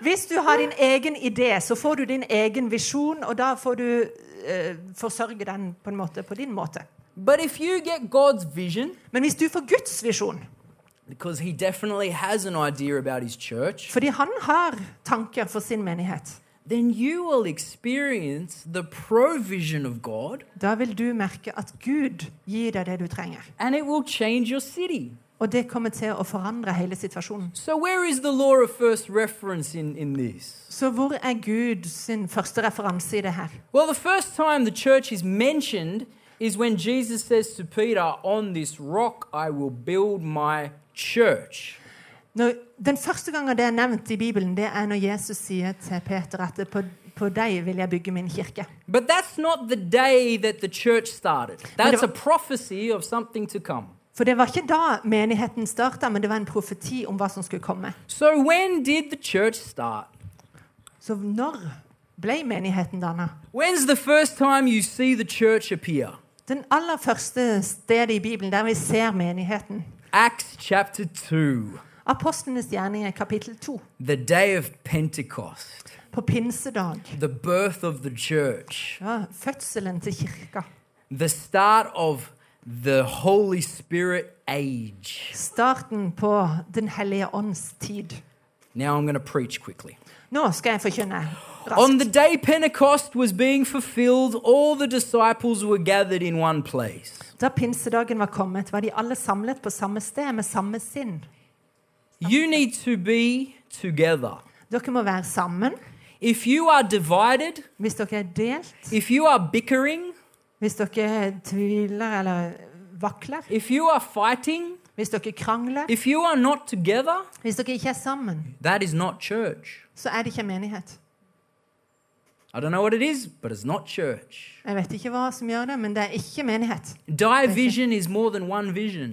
Hvis du har din egen idé, så får du din egen visjon, og da får du eh, forsørge den på en måte på din måte. But if you get God's vision, Men hvis du får Guds visjon, because He definitely has an idea about His church, fordi han har tanker for sin menighet, then you will experience the provision of God da vil du merke at Gud gir deg det du trenger. and it will change your city. Og det kommer til å forandre hele situasjonen. So, where is the law of first reference in, in this? Så hvor er Gud sin første referanse i det her? Well, the first time the church is mentioned is when Jesus says to Peter, On this rock I will build my church. Når, den første gangen det er nevnt i Bibelen, det er når Jesus sier til Peter at på, på deg vil jeg bygge min kirke. But that's not the day that the church started. That's a var- prophecy of something to come. For det var ikke da menigheten starta, men det var en profeti om hva som skulle komme. So when did the church start? Så når ble menigheten danna? When's the first time you see the church appear? Den aller første stedet i Bibelen der vi ser menigheten, Acts chapter 2, Apostlenes gjerninger, kapittel 2, the day of Pentecost, på pinsedag. the birth of the church, Ja, fødselen til kirka. the start of the Holy Spirit age. Starten på Den hellige ånds tid. Now I'm going to preach quickly. Nå skal jeg forkynne. On raskt. the day Pentecost was being fulfilled, all the disciples were gathered in one place. Da pinsedagen var kommet, var de alle samlet på samme sted med samme sinn. You need to be together. Dere må være sammen. If you are divided, Hvis dere er delt, if you are bickering, hvis dere tviler eller vakler, if you are fighting, hvis dere krangler, if you are not together, hvis dere ikke er sammen, that is not church. så er det ikke en menighet. I don't know what it is, but it's not church. Jeg vet ikke hva som gjør det, men det er ikke menighet. Division is more than one vision.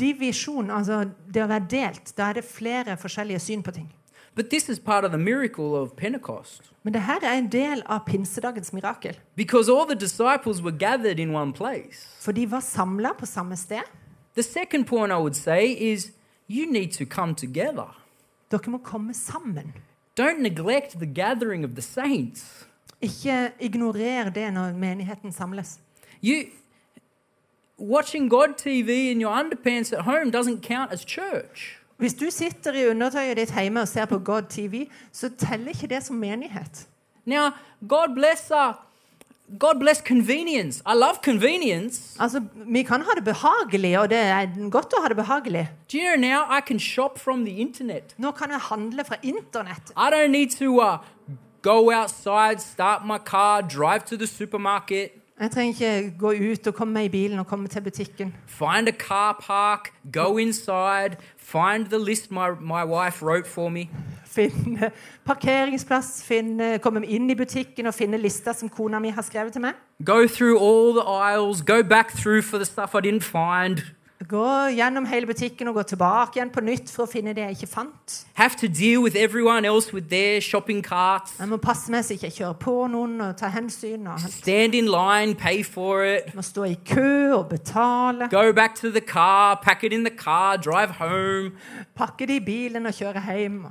Divisjon, altså det å være delt, da er det flere forskjellige syn på ting. But this is part of the miracle of Pentecost Men det her er en del av pinsedagens mirakel. because all the disciples were gathered in one place. For de var samla på samme sted. The second point I would say is you need to come together. Dere må komme sammen. Don't neglect the gathering of the saints. Ikke ignorer det når menigheten samles. You watching God TV in your underpants at home doesn't count as church. Hvis du sitter i undertøyet ditt hjemme og ser på God TV, så teller ikke det som menighet. Now, God bless uh, God bless convenience. I love convenience. Altså, Vi kan ha det behagelig, og det er godt å ha det behagelig. Do you know now I can shop from the internet. Nå kan jeg handle fra internett. I don't need to uh, go outside, start my car, drive to the supermarket, Jeg trenger ikke gå ut og komme meg i bilen og komme til butikken. find a car park, go inside, find the list my, my wife wrote for me. Finne parkeringsplass, finne, komme inn i butikken og finne lista som kona mi har skrevet til meg. Go through all the aisles, go back through for the stuff I didn't find. Gå gjennom hele butikken og gå tilbake igjen på nytt for å finne det jeg ikke fant. have to deal with everyone else with their shopping carts, Jeg må passe meg så ikke jeg kjører på noen og tar hensyn. Og jeg stand in line, pay for it, må stå i kø og betale. go back to the car, pack it in the car, drive home. Pakke det i bilen og kjøre hjem.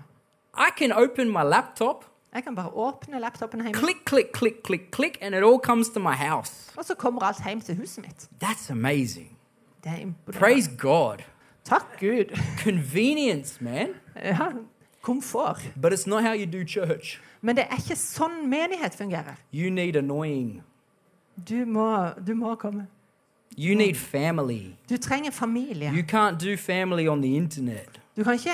I can open my laptop, Jeg kan bare åpne laptopen hjemme, click, click, click, click, click, and it all comes to my house. og så kommer alt hjem til huset mitt. That's amazing. Det er imponerende. Praise God. Takk Gud. Convenience, man. Ja, komfort. But it's not how you do church. Men det er ikke sånn menighet fungerer. You need annoying, Du må, du må komme. you need family. Du trenger familie. You can't do family on the internet. Du kan ikke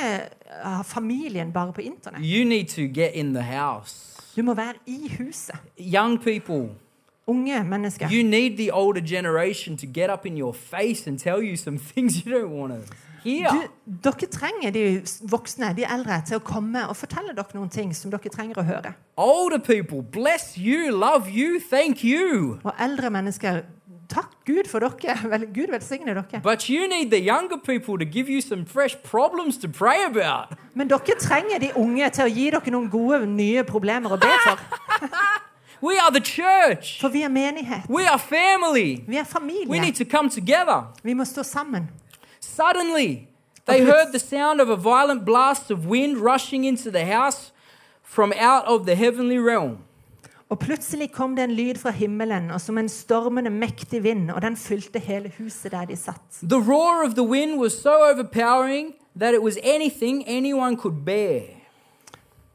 eh, ha familien bare på internett. You need to get in the house. Du må være i huset. Young people, Unge mennesker. You need the older generation to get up in your face and tell you some things you don't want to hear. Du, dere trenger de voksne, de eldre, til å komme og fortelle dere noen ting som dere trenger å høre. older people, bless you, love you, thank you. Og eldre mennesker, takk Gud for dere. Vel, Gud velsigne dere. But you need the younger people to give you some fresh problems to pray about. Men dere trenger de unge til å gi dere noen gode, nye problemer å be for. We are the church. For vi er menighet. We are family. Vi er We familie. need to come together. Vi må stå sammen. Suddenly, they Okay. heard the sound of a violent blast of wind rushing into the house from out of the heavenly realm. Og plutselig kom det en lyd fra himmelen, og som en stormende, mektig vind, og den fylte hele huset der de satt. The roar of the wind was so overpowering that it was anything anyone could bear.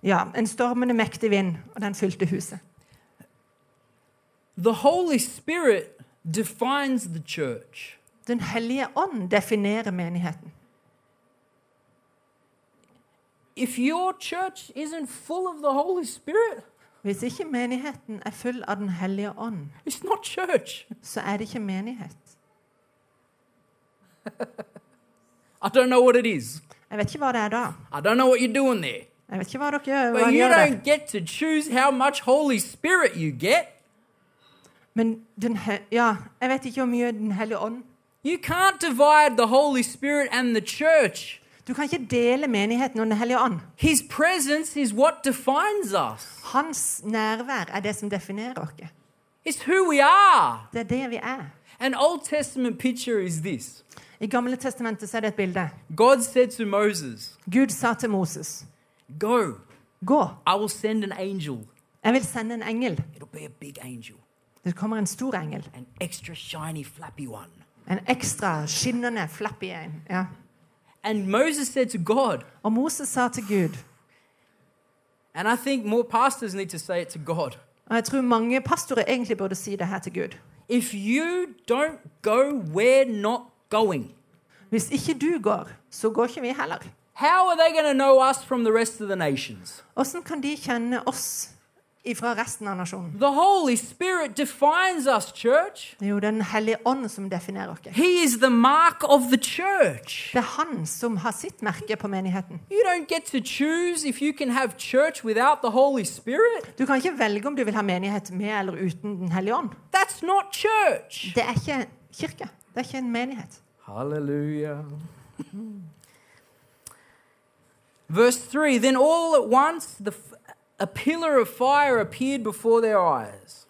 Ja, en stormende, mektig vind, og den fylte huset. The Holy Spirit defines the church. Den hellige ånd definerer menigheten. If your church isn't full of the Holy Spirit, Hvis ikke menigheten er full av Den hellige ånd, it's not church. så er det ikke menighet. I don't know what it is. Jeg vet ikke hva det er da. I don't know what you're doing there. Jeg vet ikke hva dere gjør. Hva But you dere gjør don't get to choose how much Holy Spirit you get. der. Men den he ja, jeg vet ikke hvor mye Den hellige ånd You can't divide the Holy Spirit and the church. Du kan ikke dele menigheten og Den hellige ånd. His presence is what defines us, Hans nærvær er det som definerer oss. it's who we are. Det er det vi er. An Old Testament picture is this I Gamle testamentet så er det et bilde. God said to Moses, Gud sa til Moses, Go, gå, I will send an angel. jeg vil sende en engel. It'll be a big angel, Det kommer en stor engel. an extra shiny, flappy one. En ekstra skinnende, flappy en. Ja. And Moses said to God, Og Moses sa til Gud, and I think more pastors need to say it to God og jeg tror mange pastorer egentlig burde si det her til Gud if you don't go, we're not going. Hvis ikke du går, så går ikke vi heller. How are they going to know us from the rest of the nations? Hvordan kan de kjenne oss fra resten av nasjonen? The Holy Spirit defines us, church. Det er jo Den hellige ånd som definerer oss. He is the mark of the church. Det er han som har sitt merke på menigheten. You don't get to choose if you can have church without the Holy Spirit. Du kan ikke velge om du vil ha menighet med eller uten Den hellige ånd. That's not church. Det er ikke kirke. Det er ikke en menighet. Hallelujah. Verse 3 Then all at once the, f- a pillar of fire appeared before their eyes.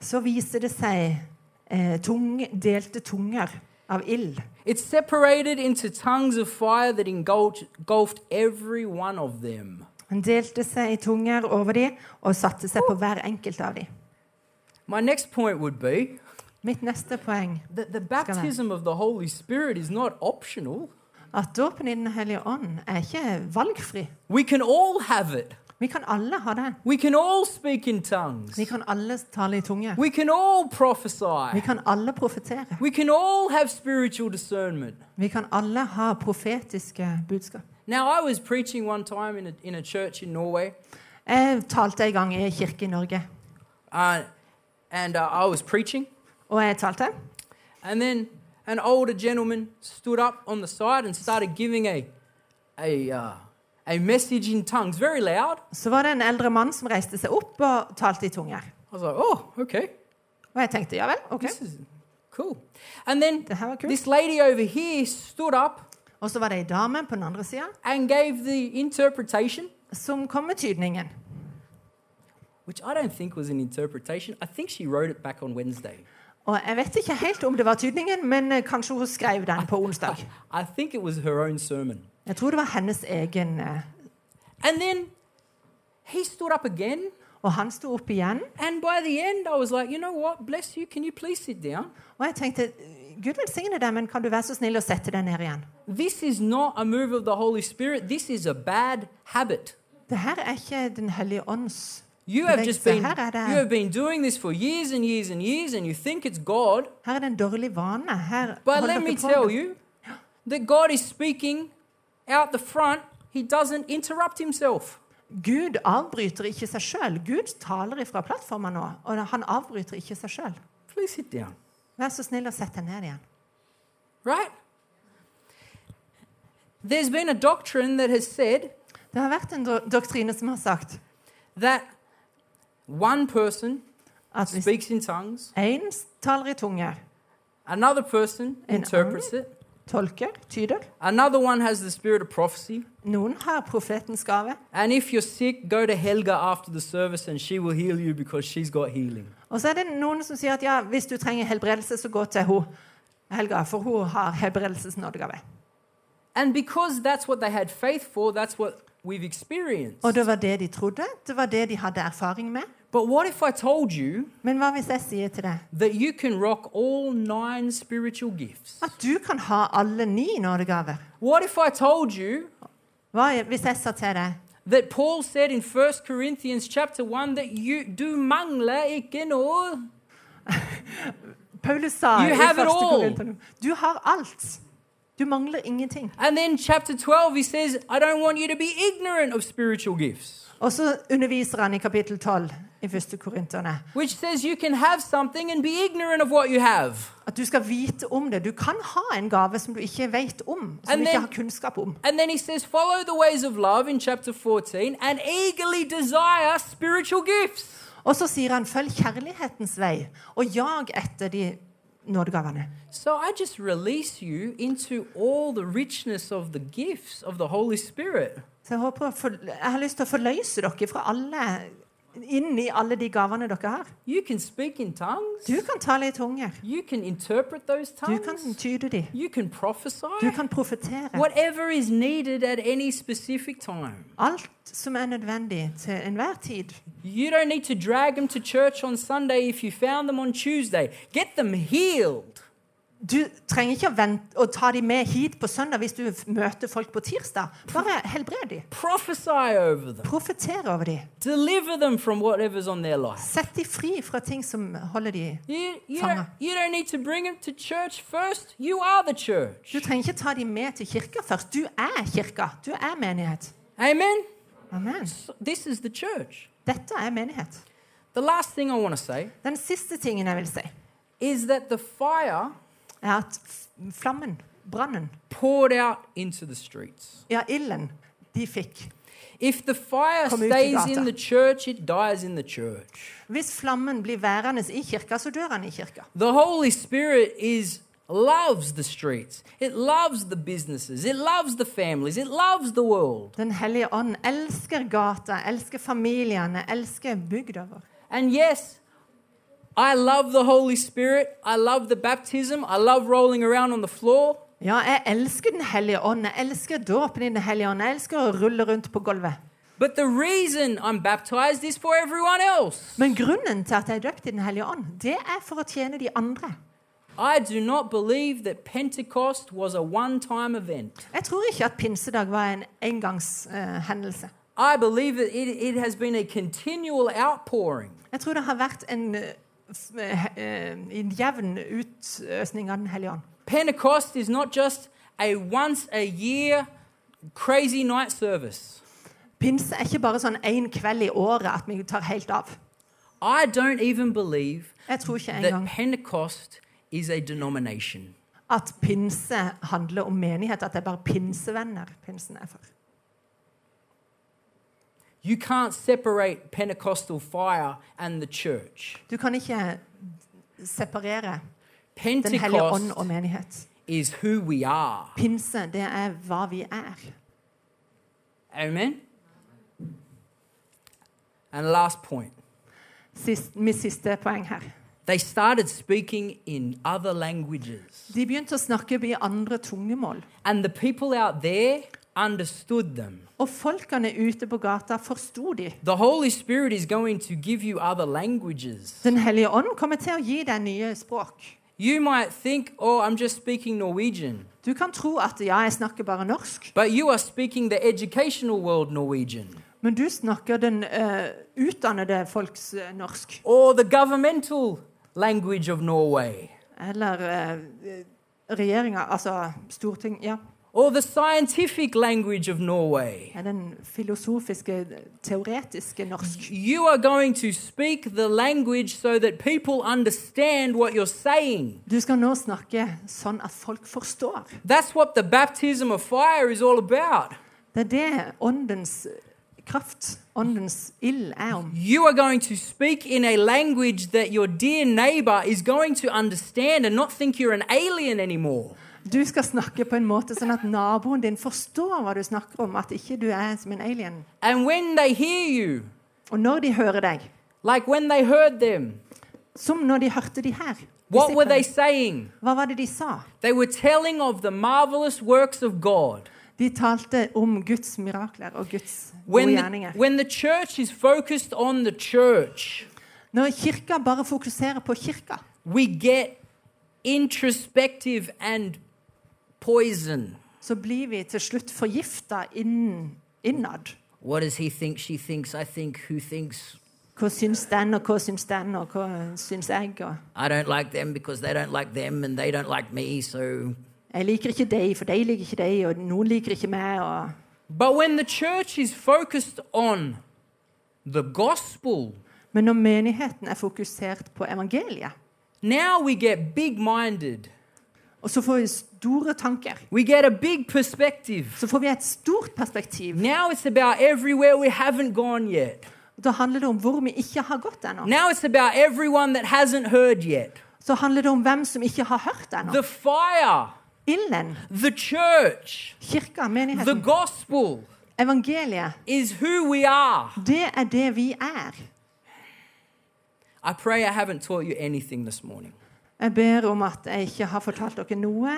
Så viser det seg eh, tung, delte tunger av ild. It separated into tongues of fire that engulfed engulfed every one of them. Han delte seg i tunger over dem og satte seg på hver enkelt av dem. My next point would be Mitt neste poeng that the baptism of the Holy Spirit is not optional. at dåpen i Den hellige ånd er ikke valgfri. We can all have it. Vi kan alle ha det. We can all speak in tongues. Vi kan alle tale i tunge. We can all Vi prophesy. kan alle profetere. We can all have spiritual discernment. Vi kan alle ha profetiske budskap. Now, I was preaching one time in a, in a church in Norway, Jeg talte en gang i en kirke i Norge, uh, and uh, I was preaching, og jeg talte. and then an older gentleman stood up on the side and started giving a, a, uh, a message in tongues very loud. Så var det en eldre mann som reiste seg opp og talte i tunger. I was like, oh, okay, Og jeg tenkte ja vel, OK. this is cool. And then Det her var kult. this lady over here stood up Og så var det ei dame på den andre sida and gave the interpretation. som kom med tydningen. Which I don't think was an interpretation. I think she wrote it back on Wednesday. Og jeg vet ikke helt om det var tydningen, men eh, kanskje hun skrev den på onsdag. I think it was her own sermon. Jeg tror det var hennes egen. eh, And then he stood up again. Og han sto opp igjen, And by the end, I was like, you know what? Bless you. Can you please sit down? og jeg tenkte Gud velsigne deg, men kan du være så snill å sette deg ned igjen? This is not a move of the Holy Spirit. This is a bad habit. Det her er ikke Den hellige ånds You have just bevegelse. been you Her er, det, have been doing this for years and years and years, and you think it's God. her er det en dårlig vane. Her But holder let me dere på tell med- you that God is speaking out the front. He doesn't interrupt himself. Gud avbryter ikke seg sjøl. Gud taler ifra plattforma nå, og han avbryter ikke seg sjøl. Please sit down. Vær så snill å sette deg ned igjen. right? There's been a doctrine that has said Det har vært en do- doktrine som har sagt that one person at hvis speaks in tongues, én taler i tunge, another person And interprets it, tolker, tyder another one has the spirit of prophecy, Noen har profetens gave. and if you're sick, go to Helga after the service and she will heal you because she's got healing. Og så er det noen som sier at ja, hvis du trenger helbredelse, så gå til hun. Helga, for hun har helbredelsesnådegave. And because that's what they had faith for, that's what we've experienced. Og det var det de trodde, det var det de hadde erfaring med. But what if I told you Men hva hvis jeg sier til deg that you can rock all nine spiritual gifts? at du kan ha alle ni nådegaver? What if I told you Hva er- hvis jeg sa til deg that Paul said in 1 Corinthians chapter 1 that you do e mangler ikke noe. Paulus sa You have i it første all. Korinther- Du har alt. Du mangler ingenting. And then chapter 12 he says, I don't want you to be ignorant of spiritual gifts. Og så underviser han i kapittel 12 i første Korinterne which says you can have something and be ignorant of what you have. at du skal vite om det. Du kan ha en gave som du ikke vet om, som And du ikke then- har kunnskap om. And then he says, follow the ways of love in chapter 14 and eagerly desire spiritual gifts. Og så sier han 'følg kjærlighetens vei', og jag etter de nådegavene. So I just release you into all the richness of the gifts of the Holy Spirit. Så jeg, håper å for, jeg har lyst til å forløse dere fra alle inn i alle de gavene dere har. You can speak in tongues. Du kan tale i tunger. You can interpret those Du kan tongues. tyde de. You can prophesy. Du kan profetere. Whatever is needed at any specific time. Alt som er nødvendig til enhver tid. You don't need to drag them to church on Sunday if you found them on Tuesday. Get them healed. Du trenger ikke å, vente, å ta de med hit på søndag hvis du f- møter folk på tirsdag. Bare helbred de. Prophesy over them. Profeter over de. Deliver them from whatever's on their life. Sett de fri fra ting som holder de You, you, Fanga. don't, you don't need to bring them to church first. You are the church. Du trenger ikke ta de med til kirka først. Du er kirka. Du er menighet. Amen? Amen. So this is the church. Dette er menighet. The last thing I want to say Den siste tingen jeg vil si, is that the fire er at f- flammen, brannen, poured out into the streets. ja, ilden, de fikk. If the fire Kom ut i stays gata. in the church, it dies in the church. Hvis flammen blir værende i kirka, så dør han i kirka. The Holy Spirit is loves the streets. It loves the businesses. It loves the families. It loves the world. Den hellige ånd elsker gata, elsker familiene, elsker bygda vår. And yes, I love the Holy Spirit. I love the baptism. I love rolling around on the floor. Ja, jeg elsker Den hellige ånd, jeg elsker dåpen i Den hellige ånd, jeg elsker å rulle rundt på gulvet. But the reason I'm baptized is for everyone else. Men grunnen til at jeg er døpt i Den hellige ånd, det er for å tjene de andre. I do not believe that Pentecost was a one time event. Jeg tror ikke at pinsedag var en engangshendelse. I believe that it, it has been a continual outpouring. Jeg tror det har vært en, eh, f- eh, eh, en jevn utøsning av Den hellige ånd. Pentecost is not just a once a year crazy night service. Pinse er ikke bare sånn én kveld i året at vi tar helt av. I don't even believe Jeg tror ikke that engang Pentecost is a denomination. at pinse handler om menighet, at det er bare pinsevenner pinsen er for. You can't separate Pentecostal fire and the church. Du kan ikke separere Den hellige ånd Pentecost og menighet. is who we are. Pinse, det er hva vi er. Amen. And last point. Sist, mitt siste poeng her. They started speaking in other languages, De begynte å snakke i andre tungemål. and the people out there understood them. Og folkene ute på gata forsto de. The Holy Spirit is going to give you other languages. Den hellige ånd kommer til å gi deg nye språk. You might think, oh, I'm just speaking Norwegian, Du kan tro at ja, jeg snakker bare norsk, but you are speaking the educational world Norwegian, men du snakker den eh, utdannede folks eh, norsk. or the governmental language of Norway, Eller uh, regjeringa, altså storting... Ja. or the scientific language of Norway. er den filosofiske, teoretiske norsk. You are going to speak the language so that people understand what you're saying. Du skal nå snakke sånn at folk forstår. That's what the baptism of fire is all about. Det er det åndens kraft, åndens ild, er om. You are going to speak in a language that your dear neighbor is going to understand and not think you're an alien anymore. Du skal snakke på en måte sånn at naboen din forstår hva du snakker om, at ikke du er som en alien. And when they hear you, Og når de hører deg, like when they heard them, som når de hørte de her, what were they disiplene, saying? hva var det de sa? They were telling of the marvelous works of God. De talte om Guds mirakler og Guds gode When the- gjerninger. when the church is focused on the church, Når kirka bare fokuserer på kirka, we get introspective and poison. så blir vi til slutt forgifta innen- innad. What does he think? She thinks. I think. Who thinks? Hva syns den, og hva syns den, og hva syns jeg? Og I don't like them because they don't like them and they don't like me. So, jeg liker ikke deg, for de liker ikke deg, og noen liker ikke meg. Og but when the church is focused on the gospel, Men når menigheten er fokusert på evangeliet, now we get big minded. og så får vi store tanker, We get a big perspective. så får vi et stort perspektiv. Now it's about everywhere we haven't gone yet. Da handler det om hvor vi ikke har gått ennå. Now it's about everyone that hasn't heard yet. Så handler det om hvem som ikke har hørt ennå. The fire, Ilden, the church, kirka, the menigheten, gospel evangeliet, is who we are. det er det vi er. I pray I haven't taught you anything this morning. Jeg ber om at jeg ikke har fortalt dere noe.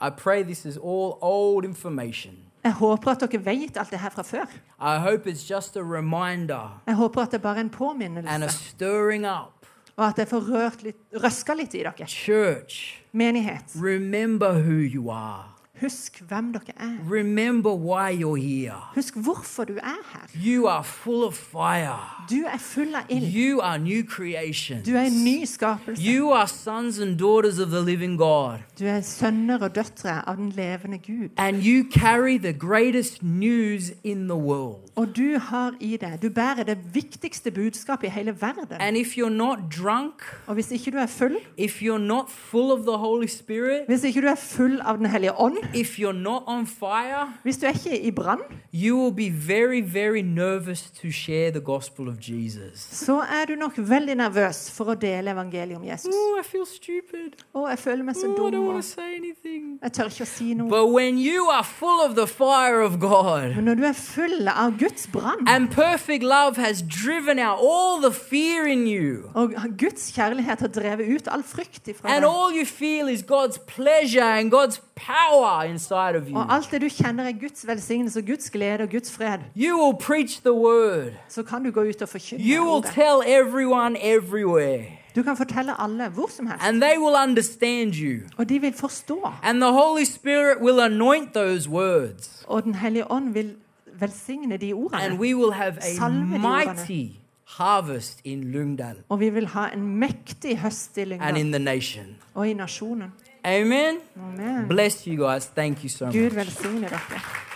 I pray this is all old information. Jeg håper at dere vet alt det her fra før. I hope it's just a reminder Jeg håper at det bare er en and a påminnelse, stirring up. og at jeg får rørt litt, røska litt i dere. Church, Menighet, remember who you are. husk hvem dere er. Remember why you're here. Husk hvorfor du er her. You are full of fire. Du er full av ild. You are new creations. Du er en ny skapelse. You are sons and daughters of the living God. Du er sønner og døtre av den levende Gud. And you carry the greatest news in the world. Og du har i deg Du bærer det viktigste budskapet i hele verden. And if you're not drunk, Og hvis ikke du er full, if you're not full of the Holy Spirit, hvis ikke du er full av Den hellige ånd, if you're not on fire, hvis du er ikke i brann, you will be very, very nervous to share the gospel of Jesus. så er du nok veldig nervøs for å dele evangeliet om Jesus. Oh, I feel stupid. Å, jeg føler meg så Oh, I dum. don't want og to say anything. Jeg tør ikke å si noe. But when you are full of the fire of God, Men når du er full av Guds brann, And perfect love has driven out all the fear in you. og Guds kjærlighet har drevet ut all frykt ifra And deg, all you feel is God's pleasure and God's power inside of you. og alt det du kjenner er Guds velsignelse og Guds glede og Guds fred, You will preach the word. så kan du gå ut og forkynne You will ordet. tell everyone everywhere. Du kan fortelle alle hvor som helst, And they will understand you. og de vil forstå. And the Holy Spirit will anoint those words. Og Den hellige ånd vil velsigne de And ordene. we will have a Salve de mighty harvest in Lungdal Og vi vil ha en mektig høst i and Lyngdal in the nation. og i nasjonen. Amen. Amen. Bless you guys. Thank you so much. Gud velsigne dere.